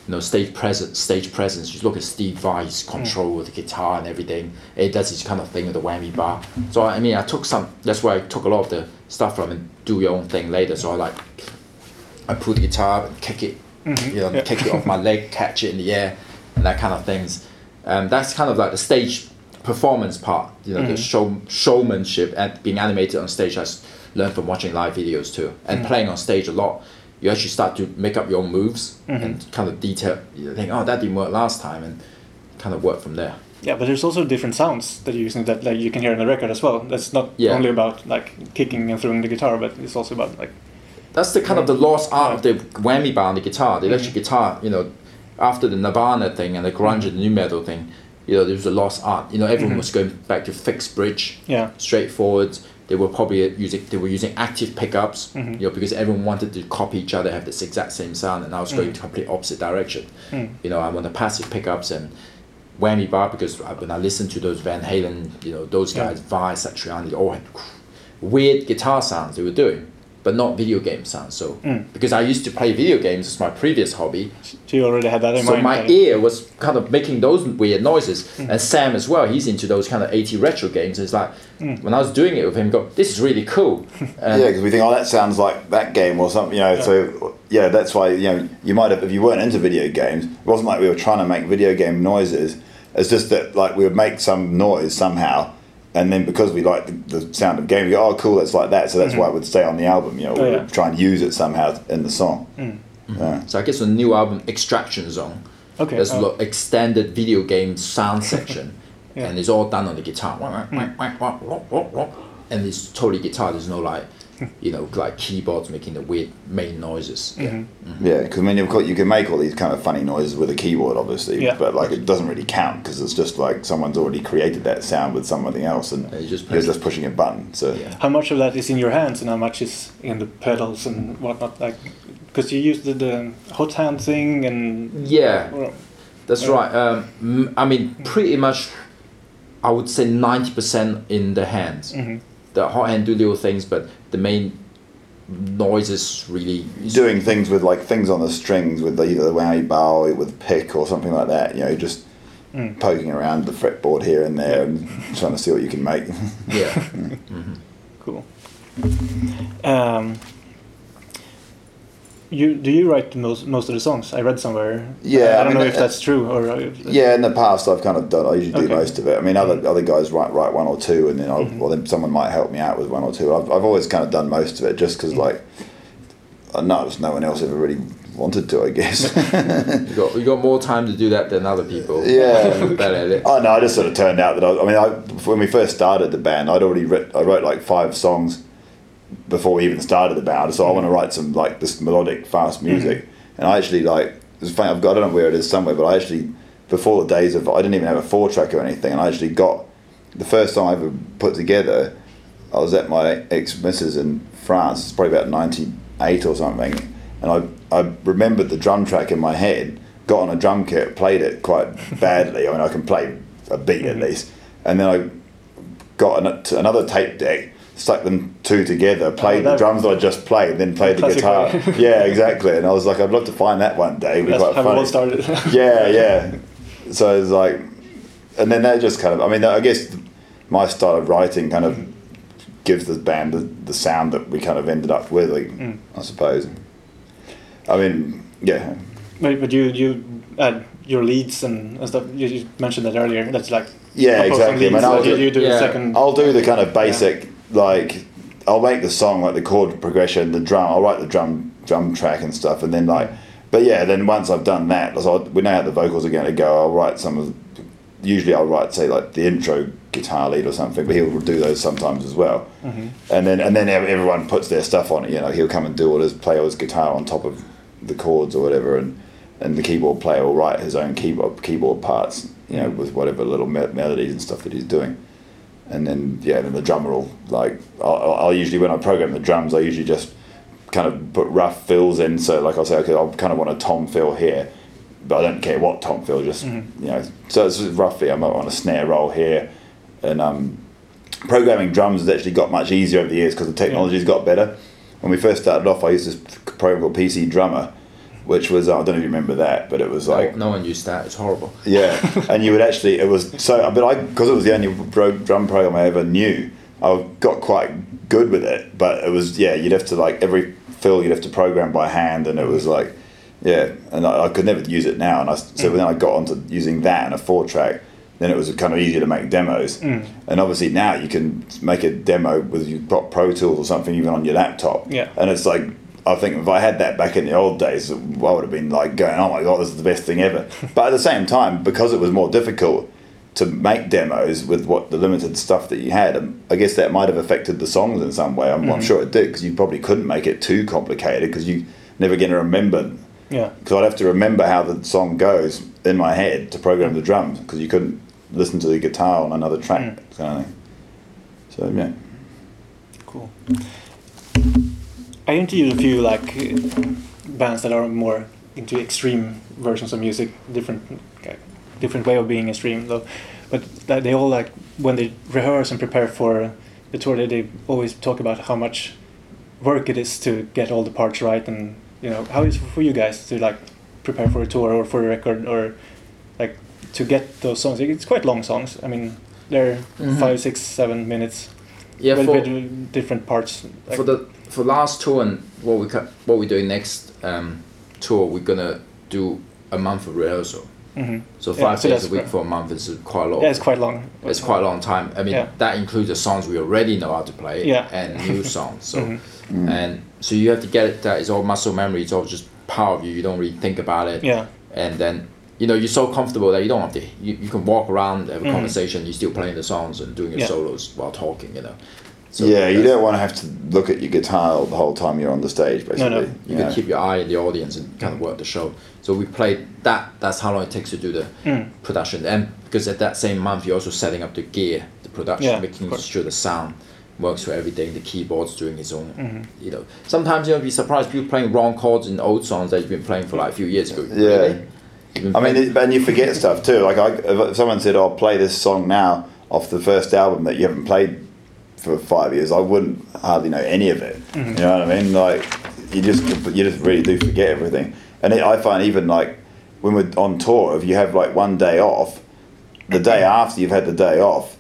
Speaker 1: you know, stage presence, stage presence. You look at Steve Vai's control with the guitar and everything. It does this kind of thing with the whammy bar. So I mean, I took some. That's where I took a lot of the stuff from and do your own thing later. So I like, I pull the guitar and kick it, you know,
Speaker 2: yeah.
Speaker 1: kick it off my leg, catch it in the air, and that kind of things. Um, that's kind of like the stage performance part. You know, the show showmanship and being animated on stage. I s- learned from watching live videos too and playing on stage a lot you actually start to make up your own moves and kind of detail. You think, oh, that didn't work last time, and kind of work from there.
Speaker 2: Yeah, but there's also different sounds that you're using that like you can hear in the record as well. That's not
Speaker 1: Yeah.
Speaker 2: only about like kicking and throwing the guitar, but it's also about like
Speaker 1: That's the kind of the lost art of the whammy bar on the guitar, the electric guitar. You know, after the Nirvana thing and the grunge and new metal thing, you know, there was a lost art. You know, everyone was going back to fixed bridge,
Speaker 2: Yeah.
Speaker 1: straightforward. They were probably using they were using active pickups, you know, because everyone wanted to copy each other, have this exact same sound, and I was going to complete opposite direction. You know, I want the passive pickups and whammy bar because I- when I listen to those Van Halen, you know, those
Speaker 2: Yeah.
Speaker 1: guys, Vi, Satriani, they all had cr- weird guitar sounds they were doing, but not video game sounds. So because I used to play video games as my previous hobby,
Speaker 2: so you already had that in
Speaker 1: so
Speaker 2: mind.
Speaker 1: my
Speaker 2: like-
Speaker 1: ear was kind of making those weird noises. And Sam as well, he's into those kind of 80 retro games. It's like
Speaker 2: Mm.
Speaker 1: when I was doing it with him, go, this is really cool.
Speaker 3: Yeah, because we think, oh, that sounds like that game or something, you know. So yeah, that's why you know you might have if you weren't into video games, it wasn't like we were trying to make video game noises. It's just that like we would make some noise somehow, and then because we like the, the sound of game, we go, oh, cool, that's like that. So that's why it would stay on the album. You know, we
Speaker 2: yeah.
Speaker 3: would try and use it somehow in the song.
Speaker 1: So I guess on the new album, Extraction Zone,
Speaker 2: Okay,
Speaker 1: there's
Speaker 2: oh.
Speaker 1: a lot extended video game sound section,
Speaker 2: Yeah. Mm.
Speaker 1: and it's all done on the guitar, and it's totally guitar. There's no like, you know, like keyboards making the weird main noises.
Speaker 2: Mm-hmm.
Speaker 1: Yeah.
Speaker 3: Yeah, because I mean, of course, you can make all these kind of funny noises with a keyboard, obviously,
Speaker 2: Yeah.
Speaker 3: but like it doesn't really count because it's just like someone's already created that sound with something else, and
Speaker 1: you just
Speaker 3: you're
Speaker 1: press-
Speaker 3: just pushing a button. So
Speaker 1: Yeah.
Speaker 2: how much of that is in your hands and how much is in the pedals and whatnot like because you use the, the hot hand thing and
Speaker 1: Yeah.
Speaker 2: or,
Speaker 1: That's right. Um, m- I mean, pretty much, I would say ninety percent in the hands.
Speaker 2: Mm-hmm.
Speaker 1: The hot hand do little things, but the main noises really
Speaker 3: doing things with like things on the strings with either the whammy bar or with pick or something like that. You know, just poking around the fretboard here and there and trying to see what you can make.
Speaker 1: Yeah.
Speaker 2: cool um, you do you write most most of the songs i read somewhere
Speaker 3: Yeah,
Speaker 2: i,
Speaker 3: I
Speaker 2: don't
Speaker 3: mean,
Speaker 2: know if
Speaker 3: uh,
Speaker 2: that's true or if,
Speaker 3: yeah, in the past I've kind of done. I usually
Speaker 2: Okay.
Speaker 3: do most of it. I mean, other other guys write write one or two, and then I'll, well, then someone might help me out with one or two. I've I've always kind of done most of it just because like, I know just no one else ever really wanted to. I guess.
Speaker 1: you got you got more time to do that than other people.
Speaker 3: Yeah.
Speaker 1: You're better at it.
Speaker 3: Oh no, I just sort of turned out that I, I mean, I, when we first started the band, I'd already writ, I wrote like five songs before we even started the band. So I want to write some like this melodic fast music, and I actually like it's funny. I've got I don't know where it is somewhere, but I actually before the days of I didn't even have a four track or anything, and I actually got the first song I ever put together. I was at my ex missus in France. It's probably about ninety eight or something, and I I remembered the drum track in my head. Got on a drum kit, played it quite badly. I mean, I can play a beat at least, and then I got an, t- another tape deck, stuck them two together, played
Speaker 2: Oh, that-
Speaker 3: the drums that I just played, then played the
Speaker 2: Classic
Speaker 3: guitar.
Speaker 2: way.
Speaker 3: yeah, exactly. And I was like, I'd love to find that one day. It'd be
Speaker 2: that's
Speaker 3: quite
Speaker 2: how it
Speaker 3: funny.
Speaker 2: all started
Speaker 3: Yeah, yeah. So it's like, and then that just kind of, I mean, I guess my style of writing kind of gives the band the, the sound that we kind of ended up with, like,
Speaker 2: Mm.
Speaker 3: I suppose. I mean, yeah.
Speaker 2: but, but you you add your leads and, and stuff you, you mentioned that earlier that's like
Speaker 3: Yeah,
Speaker 2: composing
Speaker 3: exactly. I
Speaker 2: leads,
Speaker 3: mean, I'll
Speaker 2: like you,
Speaker 3: do-
Speaker 2: you do the
Speaker 1: yeah.
Speaker 2: second
Speaker 3: I'll do the kind of basic like I'll make the song like the chord progression, the drum. I'll write the drum drum track and stuff, and then like, but yeah, then once I've done that, so I'll, we know how the vocals are going to go. I'll write some of. Usually, I'll write say like the intro guitar lead or something, but he'll do those sometimes as well. And then and then ev- everyone puts their stuff on it. You know, he'll come and do all his play all his guitar on top of the chords or whatever, and and the keyboard player will write his own keyboard keyboard parts, you know, with whatever little me- melodies and stuff that he's doing. And then yeah, then the drummer will like I'll, I'll- I'll usually when I program the drums, I usually just kind of put rough fills in. So like I'll say, okay, I kind of want a tom fill here, but I don't care what tom fill. Just you know, so it's roughly I might want a snare roll here, and um, programming drums has actually got much easier over the years because the technology's got better. When we first started off, I used this program called PC Drummer, which was I don't know if you remember that, but it was like
Speaker 1: Like, no one used that. It's horrible.
Speaker 3: yeah, and you would actually it was so, but I because it was the only bro, drum program I ever knew, I got quite good with it. But it was yeah, you'd have to like every fill you'd have to program by hand, and it was like yeah, and I, I could never use it now. And I so then I got onto using that and a four track. Then it was kind of easier to make demos, and obviously now you can make a demo with you got Pro Tools or something even on your laptop.
Speaker 2: Yeah.
Speaker 3: and it's like I think if I had that back in the old days, I would have been like going, "Oh my god, this is the best thing ever." but at the same time, because it was more difficult to make demos with what the limited stuff that you had, um, I guess that might have affected the songs in some way. I'm, I'm sure it did because you probably couldn't make it too complicated because you never going to remember.
Speaker 2: Yeah.
Speaker 3: Because I'd have to remember how the song goes in my head to program the drums because you couldn't listen to the guitar on another track kind of thing. So yeah.
Speaker 2: Cool. I interviewed a few like bands that are more into extreme versions of music, different like, different way of being extreme though. But that they all like when they rehearse and prepare for the tour, they, they always talk about how much work it is to get all the parts right, and you know how is it for you guys to like prepare for a tour or for a record or like to get those songs. It's quite long songs. I mean, they're five, six, seven minutes
Speaker 1: Yeah,
Speaker 2: well,
Speaker 1: for,
Speaker 2: but different parts. Like,
Speaker 1: for the for last tour and what we cu- what we're doing next um, tour, we're gonna do a month of rehearsal.
Speaker 2: Mhm.
Speaker 1: So
Speaker 2: Yeah,
Speaker 1: five
Speaker 2: so
Speaker 1: days
Speaker 2: that's
Speaker 1: a week
Speaker 2: great.
Speaker 1: for a month is quite a lot.
Speaker 2: yeah, it's quite long.
Speaker 1: it's quite a long time. I mean,
Speaker 2: Yeah.
Speaker 1: that includes the songs we already know how to play
Speaker 2: Yeah. Mm-hmm.
Speaker 1: and new songs. So,
Speaker 3: Mm.
Speaker 1: and so you have to get it that it's all muscle memory. It's all just power of you. You don't really think about it.
Speaker 2: Yeah,
Speaker 1: And then you know you're so comfortable that you don't have to. You, you can walk around, have a conversation. You're still playing the songs and doing your
Speaker 2: Mm-hmm. Yeah.
Speaker 1: solos while talking. You know. So
Speaker 3: yeah, you
Speaker 1: that's-
Speaker 3: don't want to have to look at your guitar the whole time you're on the stage, basically.
Speaker 2: no.
Speaker 1: You
Speaker 3: know.
Speaker 1: can keep your eye on the audience and kind of work the show. So we played that. That's how long it takes to do the
Speaker 2: Mm.
Speaker 1: production. And because at that same month, you're also setting up the gear, the production,
Speaker 2: Yeah, of
Speaker 1: making
Speaker 2: course.
Speaker 1: sure the sound works for everything. The keyboard's doing its own.
Speaker 2: Mm-hmm.
Speaker 1: You know, sometimes you'll be surprised people playing wrong chords in old songs that you've been playing for like a few years ago.
Speaker 3: Yeah.
Speaker 1: Really? You've been
Speaker 3: I mean,
Speaker 1: playing-
Speaker 3: it- and you forget stuff too. Like, I, if someone said, "I'll play this song now" off the first album that you haven't played for five years, I wouldn't hardly know any of it. You know what I mean? Like, you just you just really do forget everything. And it, I find even like when we're on tour, if you have like one day off, the day after you've had the day off,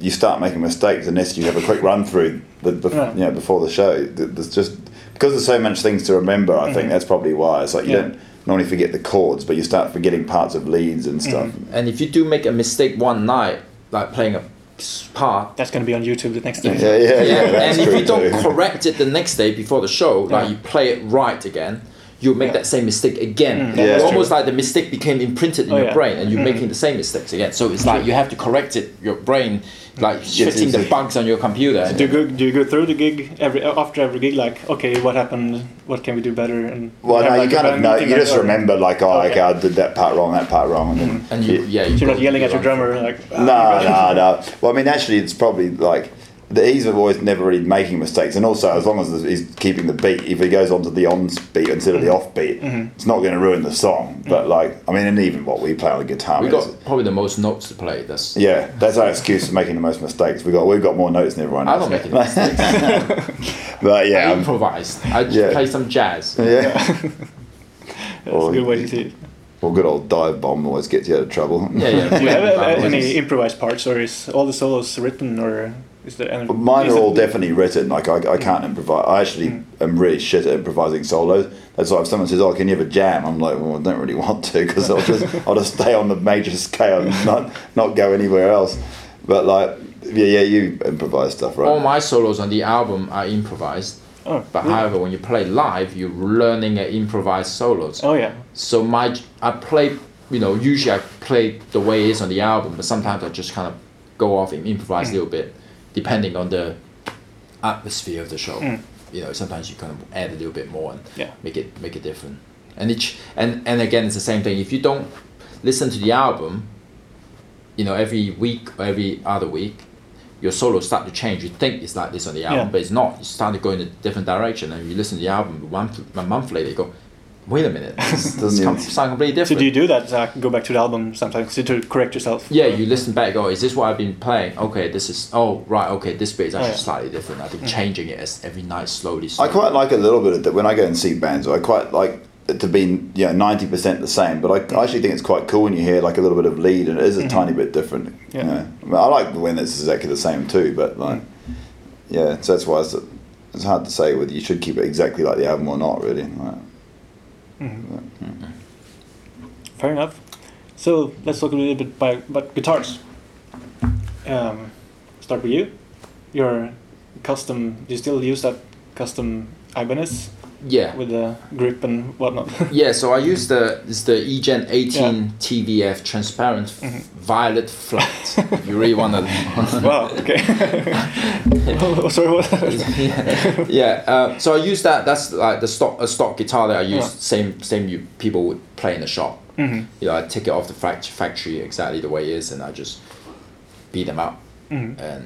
Speaker 3: you start making mistakes unless you have a quick run through the, the
Speaker 2: Yeah.
Speaker 3: you know before the show. Th- There's just because there's so much things to remember. I think that's probably why. It's like you
Speaker 2: Yeah.
Speaker 3: don't normally forget the chords, but you start forgetting parts of leads and stuff.
Speaker 1: and if you do make a mistake one night, like playing a s- part,
Speaker 2: that's gonna be on YouTube the next day.
Speaker 3: Yeah, yeah, yeah.
Speaker 1: yeah,
Speaker 3: that's
Speaker 1: and if
Speaker 3: true
Speaker 1: you don't
Speaker 3: too.
Speaker 1: correct it the next day before the show, like
Speaker 2: Yeah.
Speaker 1: you play it right again, you'll make
Speaker 2: Yeah. Mm.
Speaker 1: that same mistake again.
Speaker 3: Yeah.
Speaker 1: it's
Speaker 3: that's
Speaker 1: almost like the mistake became imprinted in
Speaker 2: Oh,
Speaker 1: your
Speaker 2: yeah.
Speaker 1: brain, and you're making the same mistakes again. So it's like you have to correct it. Your brain, like fixing the
Speaker 3: yes.
Speaker 1: bugs on your computer.
Speaker 2: Do you go? Do you go through the gig every after every gig? Like, okay, what happened? What can we do better? And
Speaker 3: Well,
Speaker 2: have,
Speaker 3: no,
Speaker 2: like,
Speaker 3: you
Speaker 2: a
Speaker 3: kind of
Speaker 2: band
Speaker 3: know.
Speaker 2: meeting,
Speaker 3: You
Speaker 2: like,
Speaker 3: just
Speaker 2: oh,
Speaker 3: remember, like, oh,
Speaker 2: Okay.
Speaker 3: okay, I did that part wrong, that part wrong, and then
Speaker 1: And you, yeah, you
Speaker 2: So you're
Speaker 1: go-
Speaker 2: not yelling at your
Speaker 1: go-
Speaker 2: drummer like. "Ah."
Speaker 3: No, no, no. Well, I mean, actually, it's probably like the ease of always never really making mistakes, and also as long as he's keeping the beat, if he goes onto the on beat instead of
Speaker 1: Mm-hmm.
Speaker 3: the off beat, it's not going to ruin the song. But like, I mean, and even what we play on the guitar, I
Speaker 1: We
Speaker 3: mean,
Speaker 1: got
Speaker 3: it's-
Speaker 1: probably the most notes to play. That's
Speaker 3: yeah, that's our excuse for making the most mistakes. We got we've got more notes than everyone
Speaker 1: I
Speaker 3: else.
Speaker 1: don't make any mistakes.
Speaker 3: But yeah,
Speaker 1: I
Speaker 3: um,
Speaker 1: improvised. I
Speaker 3: Yeah.
Speaker 1: play some jazz.
Speaker 3: yeah.
Speaker 2: That's a
Speaker 3: Oh,
Speaker 2: good way to see it.
Speaker 3: Well, good old dive bomb always gets you out of trouble.
Speaker 1: Yeah, yeah.
Speaker 2: Do you have
Speaker 1: playing
Speaker 2: uh,
Speaker 1: band noises.
Speaker 2: any improvised parts, or is all the solos written, or is there any?
Speaker 3: Mine
Speaker 2: is
Speaker 3: are
Speaker 2: it-
Speaker 3: all definitely written. Like I, I can't improvise. I actually am really shit at improvising solos. That's why if someone says, "Oh, can you have a jam?" I'm like, "Well, I don't really want to because I'll just I'll just stay on the major scale and not not go anywhere else." But like, yeah, yeah, you improvise stuff, right?
Speaker 1: all my solos on the album are improvised.
Speaker 2: Oh,
Speaker 1: But however, when you play live, you're learning an improvised solos.
Speaker 2: Oh yeah.
Speaker 1: So my I play, you know, usually I play the way it is on the album, but sometimes I just kind of go off and improvise a
Speaker 2: Mm.
Speaker 1: little bit, depending on the atmosphere of the show. You know, sometimes you kind of add a little bit more and
Speaker 2: Mm. Yeah.
Speaker 1: make it make it different. and each and and again it's the same thing if you don't listen to the album you know every week or every other week your solo start to change you think it's like this on the album
Speaker 2: Yeah.
Speaker 1: but it's not you start to go in a different direction and you listen to the album one a month later you go wait a minute this does
Speaker 3: Yeah.
Speaker 1: come, sound completely
Speaker 2: So
Speaker 1: different
Speaker 2: do you do that? Zach? Go back to the album sometimes to, to correct yourself.
Speaker 1: yeah, you listen back. Oh, is this what I've been playing? Okay, this is. Oh, right. Okay, this bit is actually
Speaker 2: Yeah. Mm-hmm.
Speaker 1: slightly different. I think changing it as every night slowly.
Speaker 3: I
Speaker 1: slowly.
Speaker 3: quite like a little bit of that when I go and see bands. I quite like it to be you know ninety percent the same, but I, I actually think it's quite cool when you hear like a little bit of lead and it is a tiny bit different. you
Speaker 2: Mm-hmm. Yeah. Mm.
Speaker 3: know. I, mean, I like when it's exactly the same too, but like yeah, so that's why it's, it's hard to say whether you should keep it exactly like the album or not. Really, like,
Speaker 2: Mm-hmm. Fair enough. So let's talk a little bit by, about guitars. Um, start with you. Your custom. Do you still use that custom Ibanez
Speaker 1: Yeah.
Speaker 2: with the grip and whatnot?
Speaker 1: Yeah. So I use the it's the E EGen 18 TVF transparent f-
Speaker 2: Mm-hmm.
Speaker 1: violet flat. if you really want to.
Speaker 2: wow. Okay. oh, sorry. What?
Speaker 1: yeah. yeah. Uh, so I use that. That's like the stock a stock guitar that I use.
Speaker 2: Yeah.
Speaker 1: Same same you people would play in the shop.
Speaker 2: Mhm.
Speaker 1: You know, I take it off the fact- factory exactly the way it is, and I just beat them up. And Um,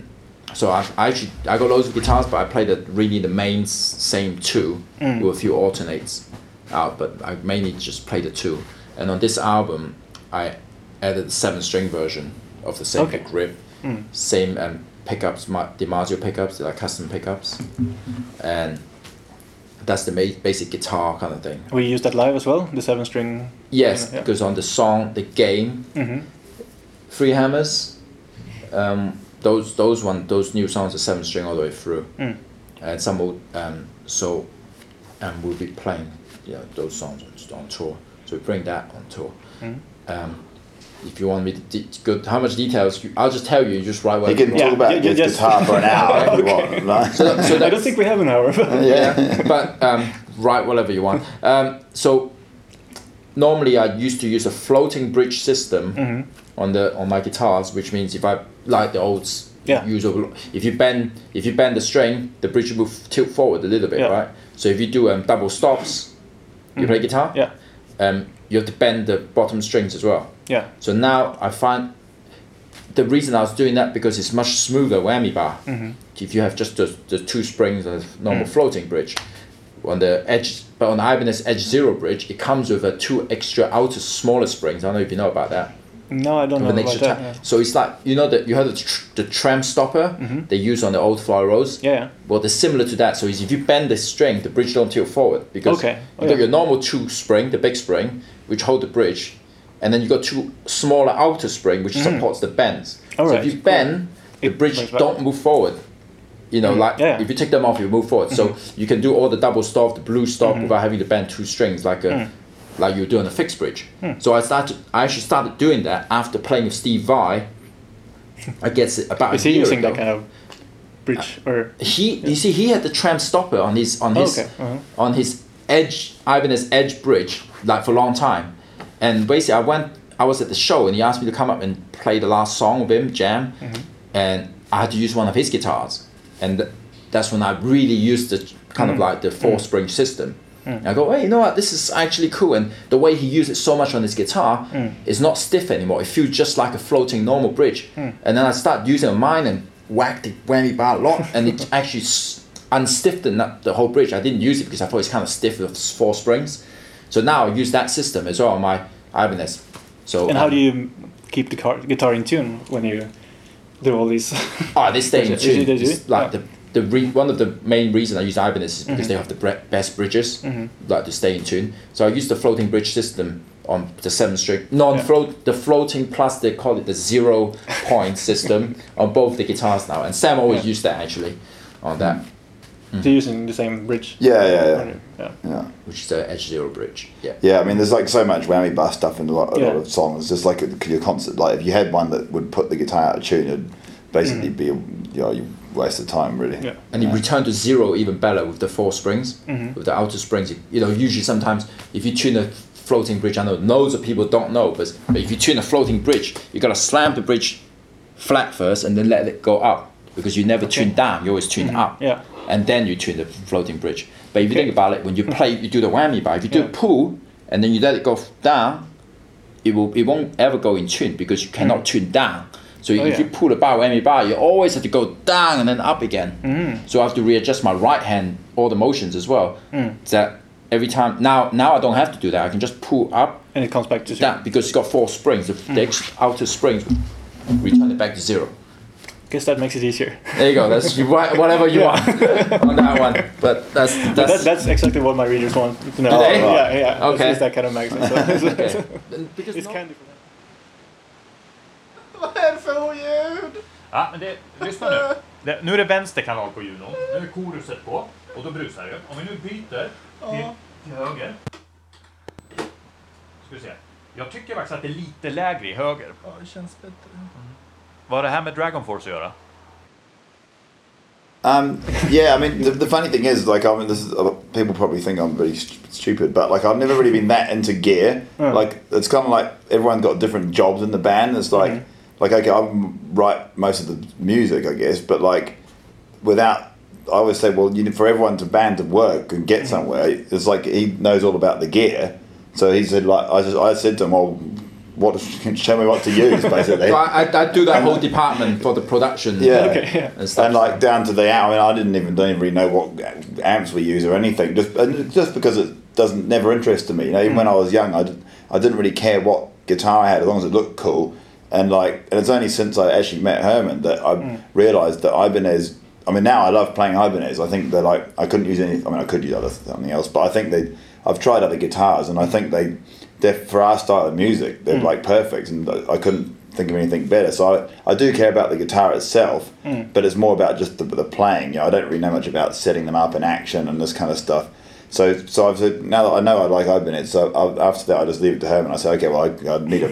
Speaker 1: so I, I actually I got loads of guitars, but I play the really the main s- same two with a few alternates out, but I mainly just play the two. And on this album, I added the seven string version of the same
Speaker 2: Okay.
Speaker 1: grip, same um, pickups, Ma- DiMaggio pickups, they're like custom pickups, and that's the ma- basic guitar kind of thing.
Speaker 2: we use that live as well. The seven string.
Speaker 1: Yes,
Speaker 2: Yeah.
Speaker 1: because on the song, the game,
Speaker 2: Mhm.
Speaker 1: Three Hammers, um, those those one those new songs are seven string all the way through,
Speaker 2: Mm.
Speaker 1: and some old um, so, and we'll be playing yeah those songs on, on tour. So we bring that on tour.
Speaker 2: Mm.
Speaker 1: Um, if you want me to de- to go, how much details? You, I'll just tell you. You just write what
Speaker 3: you can
Speaker 1: want.
Speaker 3: talk
Speaker 2: Yeah,
Speaker 3: about
Speaker 2: yeah,
Speaker 3: this
Speaker 2: yes.
Speaker 3: guitar for an hour if you want. Like,
Speaker 1: So
Speaker 2: I don't think we have an hour.
Speaker 1: yeah. but um, write whatever you want. Um, so normally I used to use a floating bridge system
Speaker 2: Mm-hmm.
Speaker 1: on the on my guitars, which means if I like the old s-
Speaker 2: Yeah.
Speaker 1: usual, if you bend if you bend the string, the bridge will f- tilt forward a little bit,
Speaker 2: Yeah. Mm-hmm.
Speaker 1: right? So if you do um, double stops, you play guitar.
Speaker 2: yeah.
Speaker 1: Um, you have to bend the bottom strings as well.
Speaker 2: Yeah.
Speaker 1: So now I find the reason I was doing that because it's much smoother whammy bar. If you have just the, the two springs on a normal floating bridge, on the edge, but on the Ibanez Edge Zero bridge, it comes with a two extra outer smaller springs. I don't know if you know about that.
Speaker 2: No, I don't know
Speaker 1: With an
Speaker 2: about
Speaker 1: extra
Speaker 2: that.
Speaker 1: ta- So it's like you know that you have the, tr- the tram stopper they use on the old fly rolls.
Speaker 2: Mm-hmm. Yeah. yeah.
Speaker 1: Well, they're similar to that. So is if you bend the string, the bridge don't tilt forward because
Speaker 2: Okay. Oh,
Speaker 1: you got
Speaker 2: yeah.
Speaker 1: your normal two spring, the big spring, which hold the bridge, and then you got two smaller outer spring which supports the bends.
Speaker 2: Mm-hmm. All
Speaker 1: so
Speaker 2: right,
Speaker 1: if you
Speaker 2: cool.
Speaker 1: bend, the
Speaker 2: It brings
Speaker 1: bridge
Speaker 2: back. Mm-hmm.
Speaker 1: don't move forward. You know, like
Speaker 2: yeah. Mm-hmm.
Speaker 1: if you take them off, you move forward. So you can do all the double stop, the blue stop, without having to bend two strings like a.
Speaker 2: Mm.
Speaker 1: Like you do on a fixed bridge, so I started. I actually started doing that after playing with Steve Vai. I guess about
Speaker 2: Is
Speaker 1: a
Speaker 2: he
Speaker 1: year
Speaker 2: using
Speaker 1: ago
Speaker 2: that kind of bridge or?
Speaker 1: he you see he had the tram stopper on his on his
Speaker 2: okay, uh-huh.
Speaker 1: on his edge Ibanez edge bridge like for a long time and basically I went I was at the show and he asked me to come up and play the last song with him jam and I had to use one of his guitars and th- that's when I really used the kind of like the four spring system and I go hey you know what this is actually cool and the way he used it so much on his guitar is not stiff anymore it feels just like a floating normal bridge and then I start using mine and whacked the whammy bar a lot, and it actually s- unstiffened up the whole bridge. I didn't use it because I thought it's kind of stiff with s- four springs. So now I use that system as well on my Ibanez. So
Speaker 2: And how
Speaker 1: um,
Speaker 2: do you keep the car, guitar in tune when you do all these?
Speaker 1: Oh, they stay in
Speaker 2: Is it- is
Speaker 1: tune.
Speaker 2: it- is it?
Speaker 1: It's like
Speaker 2: Yeah. Mm-hmm.
Speaker 1: the, the re- one of the main reason I use Ibanez is because they have the bre- best bridges, like to stay in tune. So I use the floating bridge system on the seventh string, non-float, the floating plus they call it the zero point system on both the guitars now. And Sam always
Speaker 2: Yeah.
Speaker 1: used that actually on that. Mm.
Speaker 2: They're using the same bridge.
Speaker 3: yeah, yeah, yeah.
Speaker 2: Yeah.
Speaker 1: which is the Edge Zero Bridge. Yeah.
Speaker 3: Yeah, I mean, there's like so much whammy bar stuff in a lot, a lot
Speaker 2: Yeah.
Speaker 3: of songs. Just like your concert, like if you had one that would put the guitar out of tune, it'd basically be, you know, you waste of time really.
Speaker 2: Mm. Yeah. Mm-hmm.
Speaker 1: And you return to zero even better with the four springs, with the outer springs. You- You know, usually sometimes if you tune a floating bridge, I know loads of people don't know, but, but if you tune a floating bridge, you gotta slam the bridge flat first and then let it go up because you never tune down, you always tune up.
Speaker 2: Mm-hmm. Yeah.
Speaker 1: And then you tune the floating bridge. But if you think about it, when you play, you do the whammy bar. If you do
Speaker 2: Mm-hmm. Yeah.
Speaker 1: a pull, and then you let it go down, it will it won't ever go in tune because you cannot tune down. So if
Speaker 2: Mm. Oh, yeah.
Speaker 1: you pull the bar with any bar, you always have to go down and then up again.
Speaker 2: Mm.
Speaker 1: So I have to readjust my right hand all the motions as well.
Speaker 2: Mm.
Speaker 1: That every time now now I don't have to do that. I can just pull up
Speaker 2: and it comes back to
Speaker 1: down because it's got four springs. The,
Speaker 2: Mm.
Speaker 1: the ex- outer springs return it back to zero.
Speaker 2: guess that makes it easier.
Speaker 1: There you go. That's you, write whatever you want on that one. But that's
Speaker 2: That,
Speaker 1: that's,
Speaker 2: that's exactly what my readers want to know.
Speaker 1: Do they?
Speaker 2: Yeah, yeah.
Speaker 1: Okay.
Speaker 2: It's that kind of magazine. So it's,
Speaker 1: okay. Because
Speaker 2: it's
Speaker 1: no-
Speaker 2: kind of
Speaker 6: Ja, men det, lyssna nu. Det, nu är det vänster kanal på judon. Nu är koruset på och då brusar det. Om vi nu byter till, till höger. Ska vi se. Jag tycker faktiskt att det är lite lägre i höger.
Speaker 7: Ja, det känns bättre.
Speaker 6: Vad har det här med Dragon Force att göra?
Speaker 3: Um, yeah, I mean, the, the funny thing is, like, I mean, this is, uh, people probably think I'm really st- stupid, but like, I've never really been that into gear. Like, it's kind of like everyone got different jobs in the band. It's like, like, okay, I write most of the music, I guess, but like, without, I always say, well, you know, for everyone to band to work and get somewhere, it's like he knows all about the gear. So he said, like, I just, I said to him, well, what, show me what to use, basically.
Speaker 1: So I, I, I do that whole department for the production.
Speaker 3: Yeah.
Speaker 2: yeah.
Speaker 1: And, stuff.
Speaker 3: and like down to the hour, I mean, I didn't even don't even really know what amps we use or anything. Just and just because it doesn't never interested me. You know, even
Speaker 1: Hmm.
Speaker 3: when I was young, I, did, I didn't really care what guitar I had as long as it looked cool. And like, and it's only since I actually met Herman that I
Speaker 1: Hmm.
Speaker 3: realised that Ibanez. I mean, now I love playing Ibanez. I think they're like I couldn't use any. I mean, I could use other something else, but I think they. I've tried other guitars, and I think they, they're for our style of music, they're like perfect, and I I couldn't think of anything better. So I, I do care about the guitar itself, but it's more about just the, the playing. You know, I don't really know much about setting them up in action and this kind of stuff. So so I've said now that I know I like Ibanez, so I, after that I just leave it to Herman. I say okay, well I, I need a.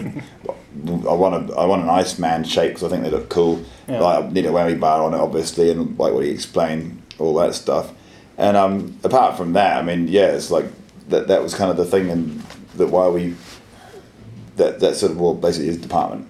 Speaker 3: I want a, I want an Iceman shape because I think they look cool. Like, I need a whammy bar on it, obviously, and like what he explained, all that stuff. And um, apart from that, I mean, yeah, it's like that. That was kind of the thing, and that why we that that sort of well, basically his department.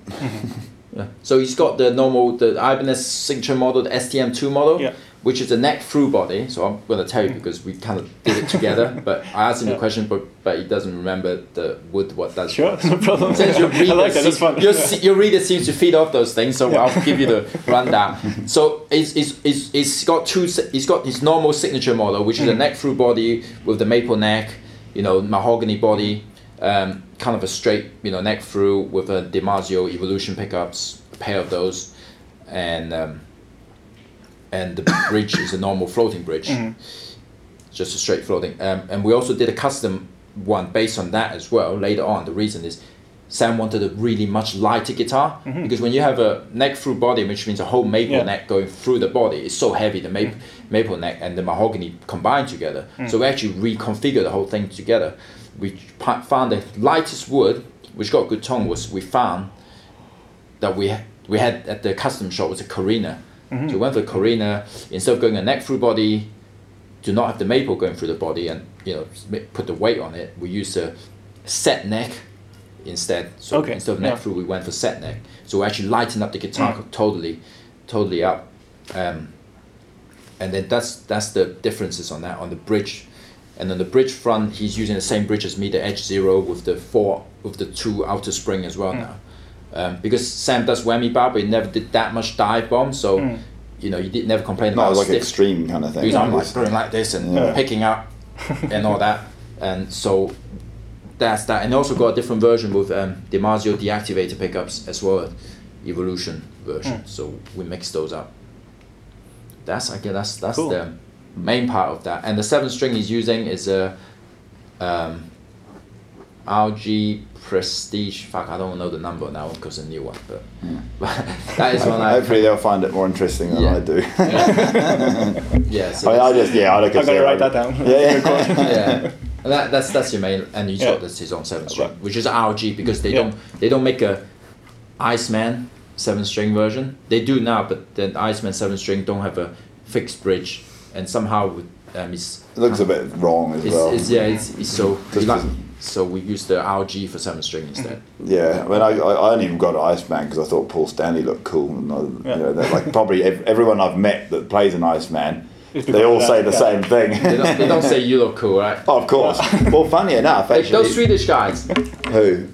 Speaker 1: so he's got the normal, the Ibanez signature model, the STM2 model,
Speaker 2: Yeah. Mm.
Speaker 1: which is a neck through body. So I'm going to tell you because we kind of did it together. but I asked him the question, but but he doesn't remember the wood, what that's
Speaker 2: Sure, no problem.
Speaker 1: Since your
Speaker 2: I
Speaker 1: reader,
Speaker 2: like that. That's
Speaker 1: seems,
Speaker 2: fun.
Speaker 1: Your,
Speaker 2: Yeah.
Speaker 1: se- your reader seems to feed off those things, so I'll give you the rundown. So it's, it's, it's, it's got two. si- It's got his normal signature model, which
Speaker 2: Mm.
Speaker 1: is a neck through body with the maple neck, you know, mahogany body, um, kind of a straight, you know, neck through with a DiMaggio Evolution pickups, a pair of those, and um, and the bridge is a normal floating bridge just a straight floating. Um, and we also did a custom one based on that as well later on. The reason is Sam wanted a really much lighter guitar because when you have a neck through body, which means a whole maple
Speaker 2: Yeah.
Speaker 1: neck going through the body, it's so heavy the maple, maple neck and the mahogany combined together. So we actually reconfigured the whole thing together. We pi- found the lightest wood, which got good tone, was we found that we we had at the custom shop was a Carina.
Speaker 2: Mm-hmm.
Speaker 1: So we went for Carina instead of going a neck through body, do not have the maple going through the body and you know s- ma- put the weight on it. We used a set neck instead. So
Speaker 2: Okay,
Speaker 1: instead of neck
Speaker 2: yeah. Mm.
Speaker 1: through, we went for set neck. So we actually lightened up the guitar totally, totally up. Um, and then that's that's the differences on that on the bridge and on the bridge front he's using the same bridge as me the edge zero with the four with the two outer spring as well now um, because sam does whammy bar but he never did that much dive bomb so you know you did never complain
Speaker 3: No,
Speaker 1: about
Speaker 3: it's like
Speaker 1: stiff-
Speaker 3: extreme kind of thing.
Speaker 1: because I'm like
Speaker 3: It's-
Speaker 1: going like this and
Speaker 3: Yeah.
Speaker 1: picking up and all that. And so that's that. And also got a different version with um, DiMaggio deactivator pickups as well, Evolution version.
Speaker 3: Hmm.
Speaker 1: So we mix those up. That's I guess that's that's
Speaker 2: Cool.
Speaker 1: the main part of that. And the seventh string he's using is a um, RG Prestige. Fuck, I don't know the number now because a new one, but,
Speaker 3: Hmm.
Speaker 1: that is one I.
Speaker 3: Hopefully they'll find it more interesting than
Speaker 1: Yeah.
Speaker 3: I do.
Speaker 1: Yeah, so
Speaker 3: I mean, I just yeah, I
Speaker 2: I'm gonna write that down.
Speaker 3: Yeah, yeah.
Speaker 1: yeah, And that, that's that's your main, and you
Speaker 2: Yeah.
Speaker 1: thought that's his on seven string,
Speaker 2: Right.
Speaker 1: which is RG because they
Speaker 2: Yeah.
Speaker 1: don't they don't make a Iceman seven string version. They do now, but then Iceman seven string don't have a fixed bridge, and somehow with um, it's,
Speaker 3: It looks a bit wrong as
Speaker 1: it's,
Speaker 3: well.
Speaker 1: it's yeah it's, it's so
Speaker 3: Just
Speaker 1: like-
Speaker 3: doesn't-
Speaker 1: so we use the RG for seven string instead.
Speaker 3: Yeah, I mean, I, I, I only even got an Iceman because I thought Paul Stanley looked cool. And I, you know, that, like probably ev- everyone I've met that plays an Iceman
Speaker 2: it
Speaker 3: They all
Speaker 2: becomes
Speaker 3: say the
Speaker 2: that-
Speaker 3: same
Speaker 1: They
Speaker 3: thing.
Speaker 1: don't, they don't say you look cool, right?
Speaker 3: of course. well, funny enough,
Speaker 1: Like those
Speaker 3: actually.
Speaker 1: Swedish guys.
Speaker 3: Who?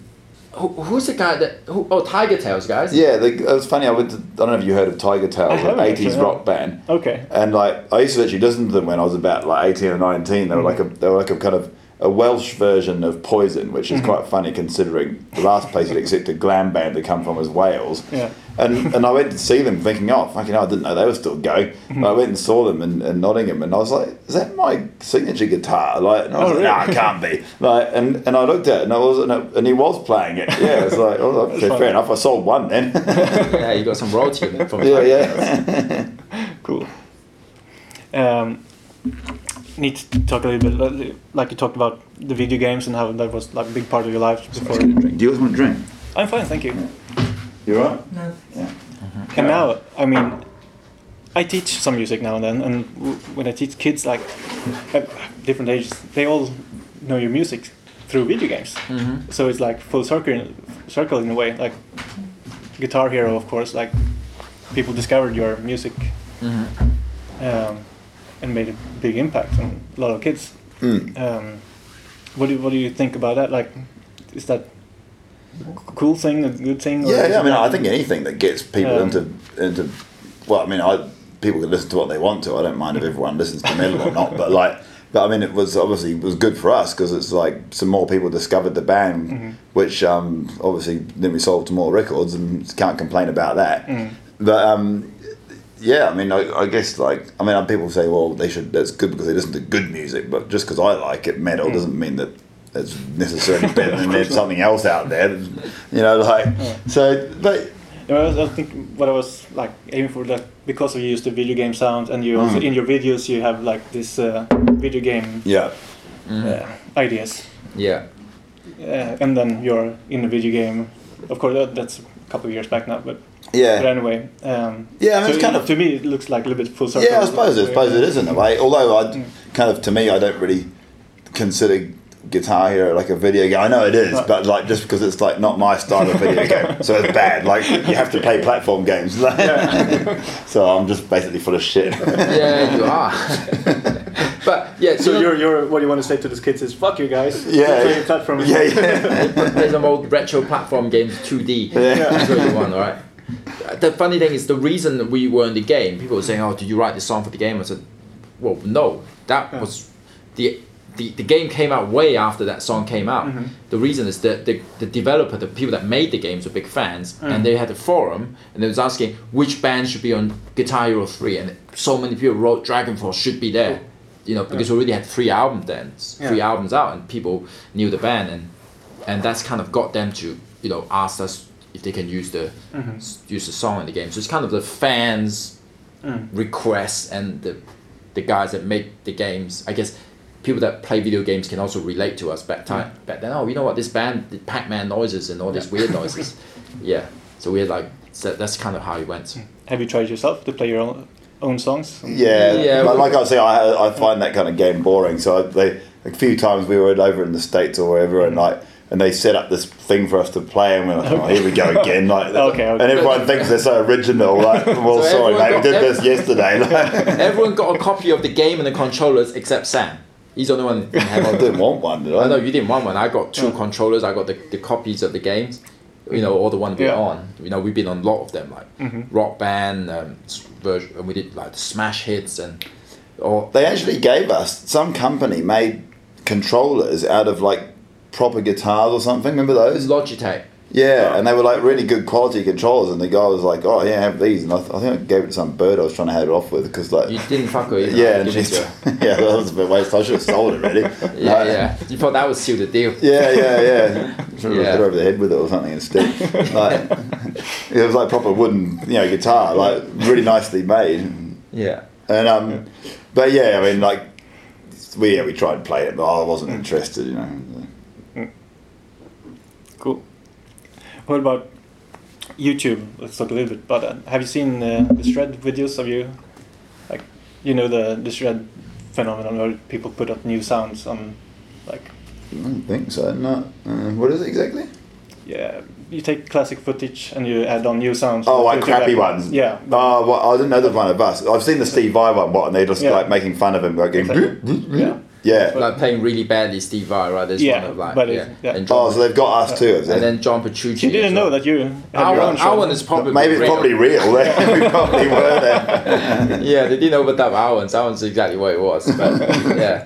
Speaker 1: Who, who's the guy that? Who, oh, Tiger Tails guys.
Speaker 3: Yeah, the, it was funny. I went. To, I don't know if you heard of Tiger
Speaker 2: I
Speaker 3: Tails, an
Speaker 2: haven't actually,
Speaker 3: eighties
Speaker 2: no.
Speaker 3: rock band.
Speaker 2: Okay.
Speaker 3: And like I used to actually listen to them when I was about like eighteen or nineteen. They were like a they were like a kind of a Welsh version of Poison, which
Speaker 2: Mm-hmm.
Speaker 3: is quite funny considering the last place that accepted glam band to come from was Wales.
Speaker 2: Yeah.
Speaker 3: And and I went to see them thinking, oh fucking, hell, I didn't know they were still going.
Speaker 2: Mm-hmm.
Speaker 3: And I went and saw them in, in Nottingham, and I was like, is that my signature guitar? Like, and I was
Speaker 2: Oh,
Speaker 3: like, nah,
Speaker 2: really?
Speaker 3: it can't be. Like, and, and I looked at it, and I was and, it, and he was playing it. Yeah, it was like, oh, okay,
Speaker 2: funny.
Speaker 3: fair enough. I sold one then.
Speaker 1: Yeah, you got some royalty in it from
Speaker 3: yeah,
Speaker 1: Tiger Tails.
Speaker 3: yeah.
Speaker 2: Cool. Um, need to talk a little bit, li- like you talked about the video games and how that was like a big part of your life before.
Speaker 3: Do you guys want a drink?
Speaker 2: I'm fine, thank you.
Speaker 3: You all right?
Speaker 8: No.
Speaker 2: And now, I mean, I teach some music now and then, and w- when I teach kids like at different ages, they all know your music through video games.
Speaker 3: Mm-hmm.
Speaker 2: So it's like full circle, circle in a way. Like Guitar Hero, of course, like people discovered your music
Speaker 3: Mm-hmm.
Speaker 2: um, and made a big impact on a lot of kids.
Speaker 3: Hmm.
Speaker 2: Um, what do you, what do you think about that? Like, is that a cool thing, a good thing? or
Speaker 3: Yeah,
Speaker 2: is
Speaker 3: yeah. I
Speaker 2: it
Speaker 3: mean, I
Speaker 2: not-
Speaker 3: think anything that gets people
Speaker 2: Yeah.
Speaker 3: into into well, I mean, I people can listen to what they want to. I don't mind if everyone listens to metal or not, but like, but I mean, it was obviously it was good for us because it's like some more people discovered the band, which um, obviously then we sold to more records and can't complain about that. But um, yeah, I mean, I, I guess like I mean, people say, well, they should. That's good because they listen to good music, but just because I like it, metal doesn't mean that it's necessarily better than there's something else out there. You know, like so, but
Speaker 2: Yeah, I was- I think what I was like aiming for that because you use the video game sound and you
Speaker 3: Mm.
Speaker 2: also in your videos you have like this uh, video game
Speaker 3: yeah, Mm.
Speaker 2: uh, ideas
Speaker 1: Yeah.
Speaker 2: uh, and then you're in a video game. Of course, that, that's a couple of years back now, but, but
Speaker 3: yeah,
Speaker 2: anyway. Um,
Speaker 3: Yeah, I mean,
Speaker 2: so
Speaker 3: it's kind
Speaker 2: it-
Speaker 3: of-
Speaker 2: to me it looks like a little bit full circle.
Speaker 3: yeah. I suppose I suppose it is in a way. Although I kind of to me, I don't really consider Guitar Hero like a video game. I know it is, but like just because it's like not my style of video game, so it's bad. Like you have to play platform games. so I'm just basically full of shit.
Speaker 1: Yeah, you are. but yeah,
Speaker 2: So
Speaker 1: you know-
Speaker 2: you're, you're, what you want to say to these kids is fuck you guys.
Speaker 3: Yeah.
Speaker 2: Play a platform.
Speaker 3: yeah, yeah.
Speaker 1: There's some old retro platform games, 2D. That's what you want, all right? The funny thing is, the reason we were in the game, people were saying, "Oh, did you write this song for the game?" I said, "Well, no. That was the." The, the game came out way after that song came out. The reason is that the, the developer, the people that made the games were big fans, and they had a forum and they was asking which band should be on Guitar Hero 3. And so many people wrote Dragonfall should be there, you know, because we already had three albums then, three
Speaker 2: Yeah.
Speaker 1: albums out, and people knew the band. And and that's kind of got them to you know ask us if they can use the s- use the song in the game. So it's kind of the fans' requests and the the guys that make the games. I guess people that play video games can also relate to us back time back then. Oh, you know what? This band did Pac-Man noises and all these weird noises. yeah. So we're like, so that's kind of how it went.
Speaker 2: Have you tried yourself to play your own, own songs?
Speaker 3: Yeah,
Speaker 1: Yeah,
Speaker 3: But
Speaker 1: we-
Speaker 3: like I say, I, I find that kind of game boring. So I, they, a few times we were over in the states or wherever, and like, and they set up this thing for us to play, and we're like, oh, here we go again. Like,
Speaker 2: Okay, okay.
Speaker 3: and everyone thinks they're so original. Like, well,
Speaker 1: So
Speaker 3: sorry,
Speaker 1: everyone
Speaker 3: mate, we
Speaker 1: got-
Speaker 3: did this yesterday. Like,
Speaker 1: Everyone got a copy of the game and the controllers except Sam. He's the only one that didn't have
Speaker 3: I
Speaker 1: one.
Speaker 3: didn't want one, did I?
Speaker 1: I know you didn't want one. I got two controllers. I got the, the copies of the games. You know, all the one we're
Speaker 2: Yeah.
Speaker 1: on. You know, we've been on a lot of them, like Rock Band um, s- version, and we did like the smash hits and or
Speaker 3: They actually gave us some company made controllers out of like proper guitars or something. Remember those?
Speaker 1: Logitech.
Speaker 3: Yeah, and they were like really good quality controllers, and the guy was like, "Oh yeah, have these." And I, th- I think I gave it to some bird I was trying to head it off with because like,
Speaker 1: You didn't fuck her either.
Speaker 3: yeah,
Speaker 1: You
Speaker 3: and
Speaker 1: didn't do
Speaker 3: she's,
Speaker 1: it.
Speaker 3: yeah, that was a bit waste. I should have sold it really.
Speaker 1: yeah, yeah. You thought that would seal the deal.
Speaker 3: yeah, yeah, yeah. Should have
Speaker 1: Yeah.
Speaker 3: hit her over the head with it or something instead. Like, it was like proper wooden, you know, guitar, like really nicely made.
Speaker 1: Yeah.
Speaker 3: And um, but yeah, I mean, like we yeah, we tried to play it, but I wasn't interested, you know.
Speaker 2: Cool. What about YouTube? Let's talk a little bit about that. Have you seen uh, the shred videos of you? Like, you know the the shred phenomenon where people put up new sounds on, like,
Speaker 3: I don't think so. No, uh, what is it exactly?
Speaker 2: yeah, you take classic footage and you add on new sounds.
Speaker 3: Oh,
Speaker 2: You
Speaker 3: like
Speaker 2: do
Speaker 3: crappy
Speaker 2: that.
Speaker 3: ones.
Speaker 2: Yeah.
Speaker 3: Oh, well, I didn't know the one of us. I've seen the Steve Vai one, what, and they're just
Speaker 2: Yeah.
Speaker 3: like making fun of him, like going,
Speaker 2: Yeah.
Speaker 3: yeah.
Speaker 1: like playing really badly Steve Vai, right? There's
Speaker 2: Yeah,
Speaker 1: one of like
Speaker 2: but
Speaker 1: yeah.
Speaker 2: it- yeah.
Speaker 1: And,
Speaker 3: Oh,
Speaker 1: John,
Speaker 3: so they've got us too. Is
Speaker 1: and
Speaker 3: it?
Speaker 1: then John Petrucci.
Speaker 2: You didn't
Speaker 1: as
Speaker 2: know
Speaker 1: well.
Speaker 2: that you had
Speaker 1: Our one,
Speaker 2: your own
Speaker 1: our
Speaker 2: show.
Speaker 1: one is probably
Speaker 3: Maybe it's
Speaker 1: real.
Speaker 3: probably real. we probably were there.
Speaker 1: yeah. They didn't overdub our ones. Our ones exactly what it was. But yeah,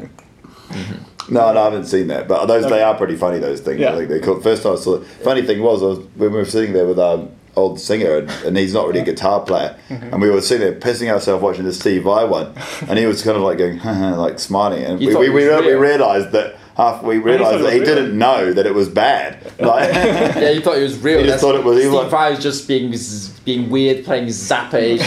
Speaker 3: No, no, I haven't seen that. But those they are pretty funny. Those things.
Speaker 2: Yeah.
Speaker 3: I think they're cool. First time I saw. Funny thing was, I was when we were sitting there with our old singer, and, and he's not really a guitar player,
Speaker 2: Mm-hmm.
Speaker 3: and we were sitting there pissing ourselves watching the Steve Vai one, and he was kind of like going like smiling, and
Speaker 1: You
Speaker 3: we
Speaker 1: thought
Speaker 3: we,
Speaker 1: it
Speaker 3: we,
Speaker 1: was
Speaker 3: re- we
Speaker 1: real.
Speaker 3: realized that. Half, we
Speaker 2: thought
Speaker 3: realized
Speaker 2: it
Speaker 3: that he
Speaker 2: was real.
Speaker 3: didn't know that it was bad. Like,
Speaker 1: yeah. You thought it was real.
Speaker 3: You just
Speaker 1: That's-
Speaker 3: thought it was
Speaker 1: Steve
Speaker 3: evil.
Speaker 1: Vai was just being z- being weird, playing Zappa.
Speaker 3: Yeah,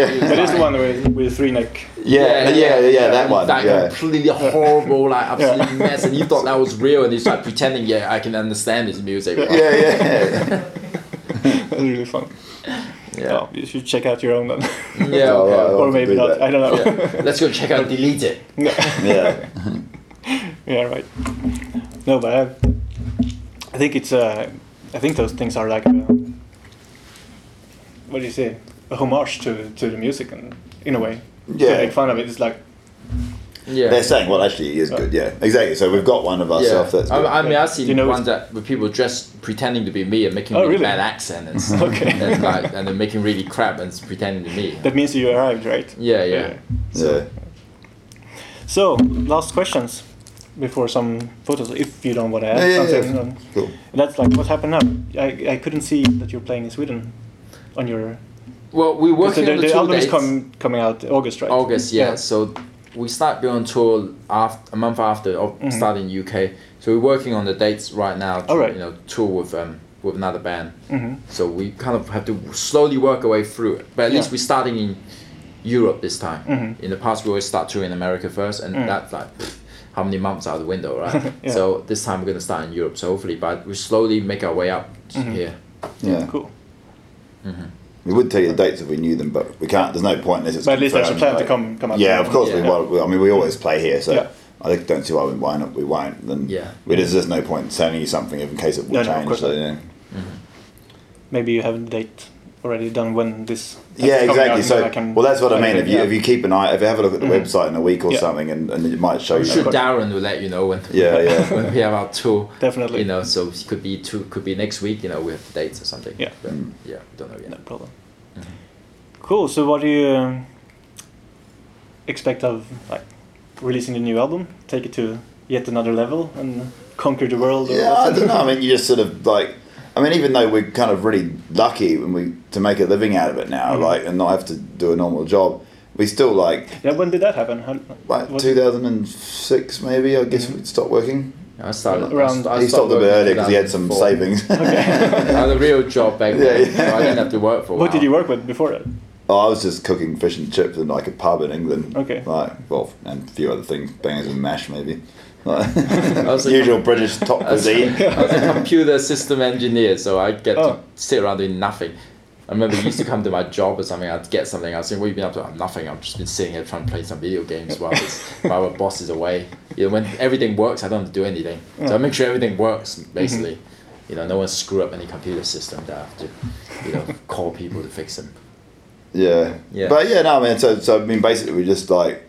Speaker 3: yeah.
Speaker 2: It is the one with, with three neck.
Speaker 3: yeah, yeah, yeah, that one.
Speaker 1: That
Speaker 3: yeah.
Speaker 1: completely horrible, like absolute mess, and you thought that was real, and you start pretending, yeah, I can understand his music.
Speaker 3: yeah, yeah,
Speaker 2: That's really fun.
Speaker 1: yeah,
Speaker 2: You should check out your own one.
Speaker 1: yeah.
Speaker 3: All
Speaker 1: okay.
Speaker 3: right, I'll
Speaker 2: or maybe
Speaker 3: do
Speaker 2: not.
Speaker 3: that.
Speaker 2: I don't know. Yeah,
Speaker 1: Let's go check out Delete It.
Speaker 3: yeah.
Speaker 2: right. No, but I, I think it's. Uh, I think those things are like. Uh, what do you say? A homage to, to the music, and in a way,
Speaker 3: Yeah.
Speaker 2: to make fun of it. It's like
Speaker 1: Yeah.
Speaker 3: They're saying, well, actually, he is good. Yeah, exactly. So we've got one of
Speaker 1: Yeah.
Speaker 3: ourselves that's
Speaker 1: I,
Speaker 3: good.
Speaker 1: I mean, I've
Speaker 2: Do
Speaker 1: seen
Speaker 2: you know
Speaker 1: ones that with people just pretending to be me and making
Speaker 2: Oh,
Speaker 1: really
Speaker 2: really?
Speaker 1: bad accent and stuff,
Speaker 2: Okay.
Speaker 1: and, like, and then making really crap and s- pretending to me.
Speaker 2: that means you arrived, right?
Speaker 1: Yeah, yeah.
Speaker 3: yeah.
Speaker 2: So, last questions before some photos, if you don't want to add
Speaker 3: Yeah, yeah, yeah.
Speaker 2: something. um,
Speaker 3: Cool.
Speaker 2: That's like what happened now. I, I couldn't see that you're playing in Sweden on your.
Speaker 1: Well, we're
Speaker 2: So
Speaker 1: working
Speaker 2: the,
Speaker 1: on the,
Speaker 2: the
Speaker 1: tour
Speaker 2: album is
Speaker 1: dates.
Speaker 2: com, coming out August, right?
Speaker 1: August, yeah. So we start being on tour after, a month after of
Speaker 2: Mm-hmm.
Speaker 1: starting UK. So we're working on the dates right now. To,
Speaker 2: All right.
Speaker 1: You know, tour with um with another band.
Speaker 2: Mhm.
Speaker 1: So we kind of have to slowly work our way through it. But at
Speaker 2: Yeah.
Speaker 1: least we're starting in Europe this time.
Speaker 2: Mhm.
Speaker 1: In the past, we always start touring in America first, and
Speaker 2: Mm.
Speaker 1: that's like. pfft, how many months out the window, right?
Speaker 2: Yeah.
Speaker 1: So this time we're gonna start in Europe. So hopefully, but we slowly make our way up to
Speaker 2: Mm-hmm.
Speaker 1: here.
Speaker 3: Yeah.
Speaker 2: Cool.
Speaker 3: We would tell you the dates if we knew them, but we can't. There's no point unless it's.
Speaker 2: But at least there's a plan
Speaker 3: confirmed,
Speaker 2: to
Speaker 3: like-
Speaker 2: come come out.
Speaker 3: Yeah, of course we
Speaker 1: Yeah.
Speaker 3: will. We- I mean, we always play here, so
Speaker 2: Yeah.
Speaker 3: I think don't see why we why not. We won't. Then
Speaker 1: Yeah.
Speaker 3: we, there's just no point in telling you something if in case it will
Speaker 2: No, no, of
Speaker 3: change.
Speaker 2: course
Speaker 3: so,
Speaker 2: not.
Speaker 3: yeah.
Speaker 2: Maybe you have a date already done when this.
Speaker 3: Yeah,
Speaker 2: that's coming out
Speaker 3: exactly.
Speaker 2: and
Speaker 3: So,
Speaker 2: I can-
Speaker 3: well, that's what I mean.
Speaker 2: can-
Speaker 3: If you
Speaker 2: yeah.
Speaker 3: if you keep an eye, if you have a look at the website in a week or
Speaker 2: Mm-hmm. Yeah.
Speaker 3: something, and, and it might show you.
Speaker 1: Sure,
Speaker 3: something.
Speaker 1: Darren will let you know when
Speaker 3: Oh, Yeah, yeah.
Speaker 1: when we have our tour.
Speaker 2: Definitely.
Speaker 1: You know, so it could be two, could be next week. You know, we have dates or something.
Speaker 2: Yeah.
Speaker 1: But,
Speaker 3: Mm.
Speaker 1: yeah, we don't know yet.
Speaker 2: No problem.
Speaker 1: Mm-hmm.
Speaker 2: Cool. So, what do you um, expect of like releasing the new album? Take it to yet another level and conquer the world? or
Speaker 3: Yeah, I
Speaker 2: what?
Speaker 3: don't know. I mean, you just sort of like. I mean, even though we're kind of really lucky when we to make a living out of it now,
Speaker 2: Mm-hmm.
Speaker 3: like, and not have to do a normal job, we still like
Speaker 2: Yeah, when did that happen? How,
Speaker 3: like
Speaker 2: what-
Speaker 3: 2006 maybe. I guess we stopped working.
Speaker 1: I started
Speaker 2: Around-
Speaker 1: Mm-hmm. I
Speaker 3: he stopped a bit
Speaker 1: working
Speaker 3: earlier because he had some
Speaker 1: 2004.
Speaker 3: savings.
Speaker 1: I had a real job back then,
Speaker 3: Yeah, yeah.
Speaker 1: so I didn't have to work for. A
Speaker 2: What
Speaker 1: while.
Speaker 2: did you work with before that?
Speaker 3: oh, I was just cooking fish and chips in like a pub in England.
Speaker 2: Okay.
Speaker 3: Like, well, and a few other things, bangers and mash maybe. Like,
Speaker 1: was like-
Speaker 3: usual British top cuisine.
Speaker 1: I was a computer system engineer, so I get
Speaker 2: Oh.
Speaker 1: to sit around doing nothing. I remember you used to come to my job or something, I'd get something, I'd say, What have you been up to? "Oh, nothing, I've just been sitting here trying to play some video games while, it's, while my boss is away. You know, when everything works, I don't have to do anything. So I make sure everything works, basically. You know, no one screw up any computer system that I have to, you know, call people to fix them.
Speaker 3: Yeah.
Speaker 1: Yeah.
Speaker 3: But yeah, no, man. So, so I mean, basically, we just like,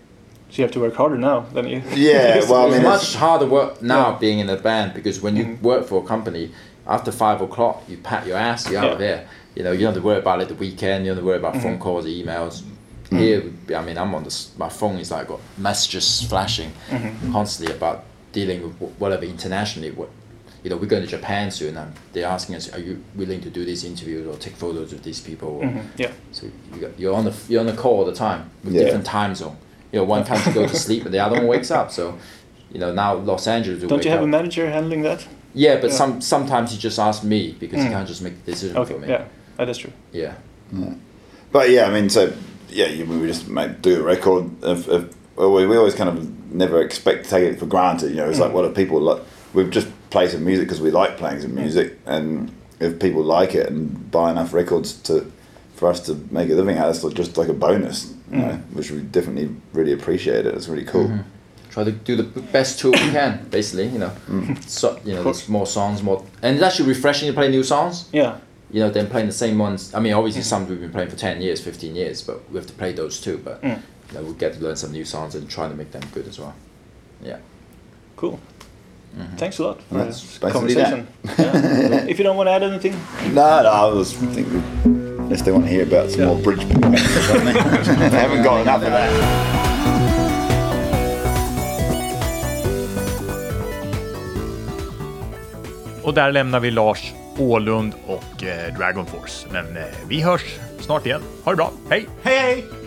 Speaker 2: So you have to work harder now than you.
Speaker 3: yeah.
Speaker 1: it's
Speaker 3: Well, I mean, it's- Mm-hmm.
Speaker 1: much harder work now being in a band because when you work for a company, after five o'clock, you pat your ass, you're out of
Speaker 2: Yeah.
Speaker 1: there. You know, you don't have to worry about it the weekend, you don't have to worry about
Speaker 3: Mm-hmm.
Speaker 1: phone calls, emails. Here, I mean, I'm on this, my phone is like got messages flashing
Speaker 3: Mm-hmm.
Speaker 1: constantly about dealing with wh- whatever internationally. What, you know, we're going to Japan soon and they're asking us, are you willing to do these interviews or take photos of these people? Or,
Speaker 3: Mm-hmm.
Speaker 2: Yeah.
Speaker 1: so you got, you're on the you're on the call all the time with
Speaker 3: Yeah.
Speaker 1: different time zone. You know, one time to go to sleep and the other one wakes up. So, you know, now Los Angeles. Will
Speaker 2: Don't
Speaker 1: wake
Speaker 2: you have
Speaker 1: up.
Speaker 2: a manager handling that?
Speaker 1: Yeah, but
Speaker 2: Yeah. Mm.
Speaker 1: some sometimes he just asks me because he can't just make the decision
Speaker 2: Okay.
Speaker 1: for me.
Speaker 2: Yeah, that is true.
Speaker 1: Yeah.
Speaker 3: But yeah, I mean, so yeah, you, we just make, do a record. If, if, well, we, we always kind of never expect to take it for granted. You know, it's like what if people like? We've just play some music because we like playing some music, and if people like it and buy enough records to for us to make a living out, it's like, just like a bonus, you know, which we definitely really appreciate. It. It's really cool.
Speaker 1: try to do the best tour we can, basically. You know, so you know, there's more songs, more, and it's actually refreshing to play new songs.
Speaker 2: Yeah.
Speaker 1: You know, than playing the same ones. I mean,
Speaker 2: Mm.
Speaker 1: obviously, some we've been playing for ten years, fifteen years, but we have to play those too. But
Speaker 2: Mm.
Speaker 1: you know, we get to learn some new songs and try to make them good as well. Yeah.
Speaker 2: Cool. Thanks a lot for
Speaker 3: That's
Speaker 2: this
Speaker 3: basically that.
Speaker 2: conversation. Yeah. if you don't want to add anything,
Speaker 3: No, no, I was thinking, unless they want to hear about some more bridge points or something. they haven't got enough of that.
Speaker 6: Och där lämnar vi Lars Ålund och eh, Dragon Force. Men eh, vi hörs snart igen. Ha det bra. Hej!
Speaker 9: Hej hej!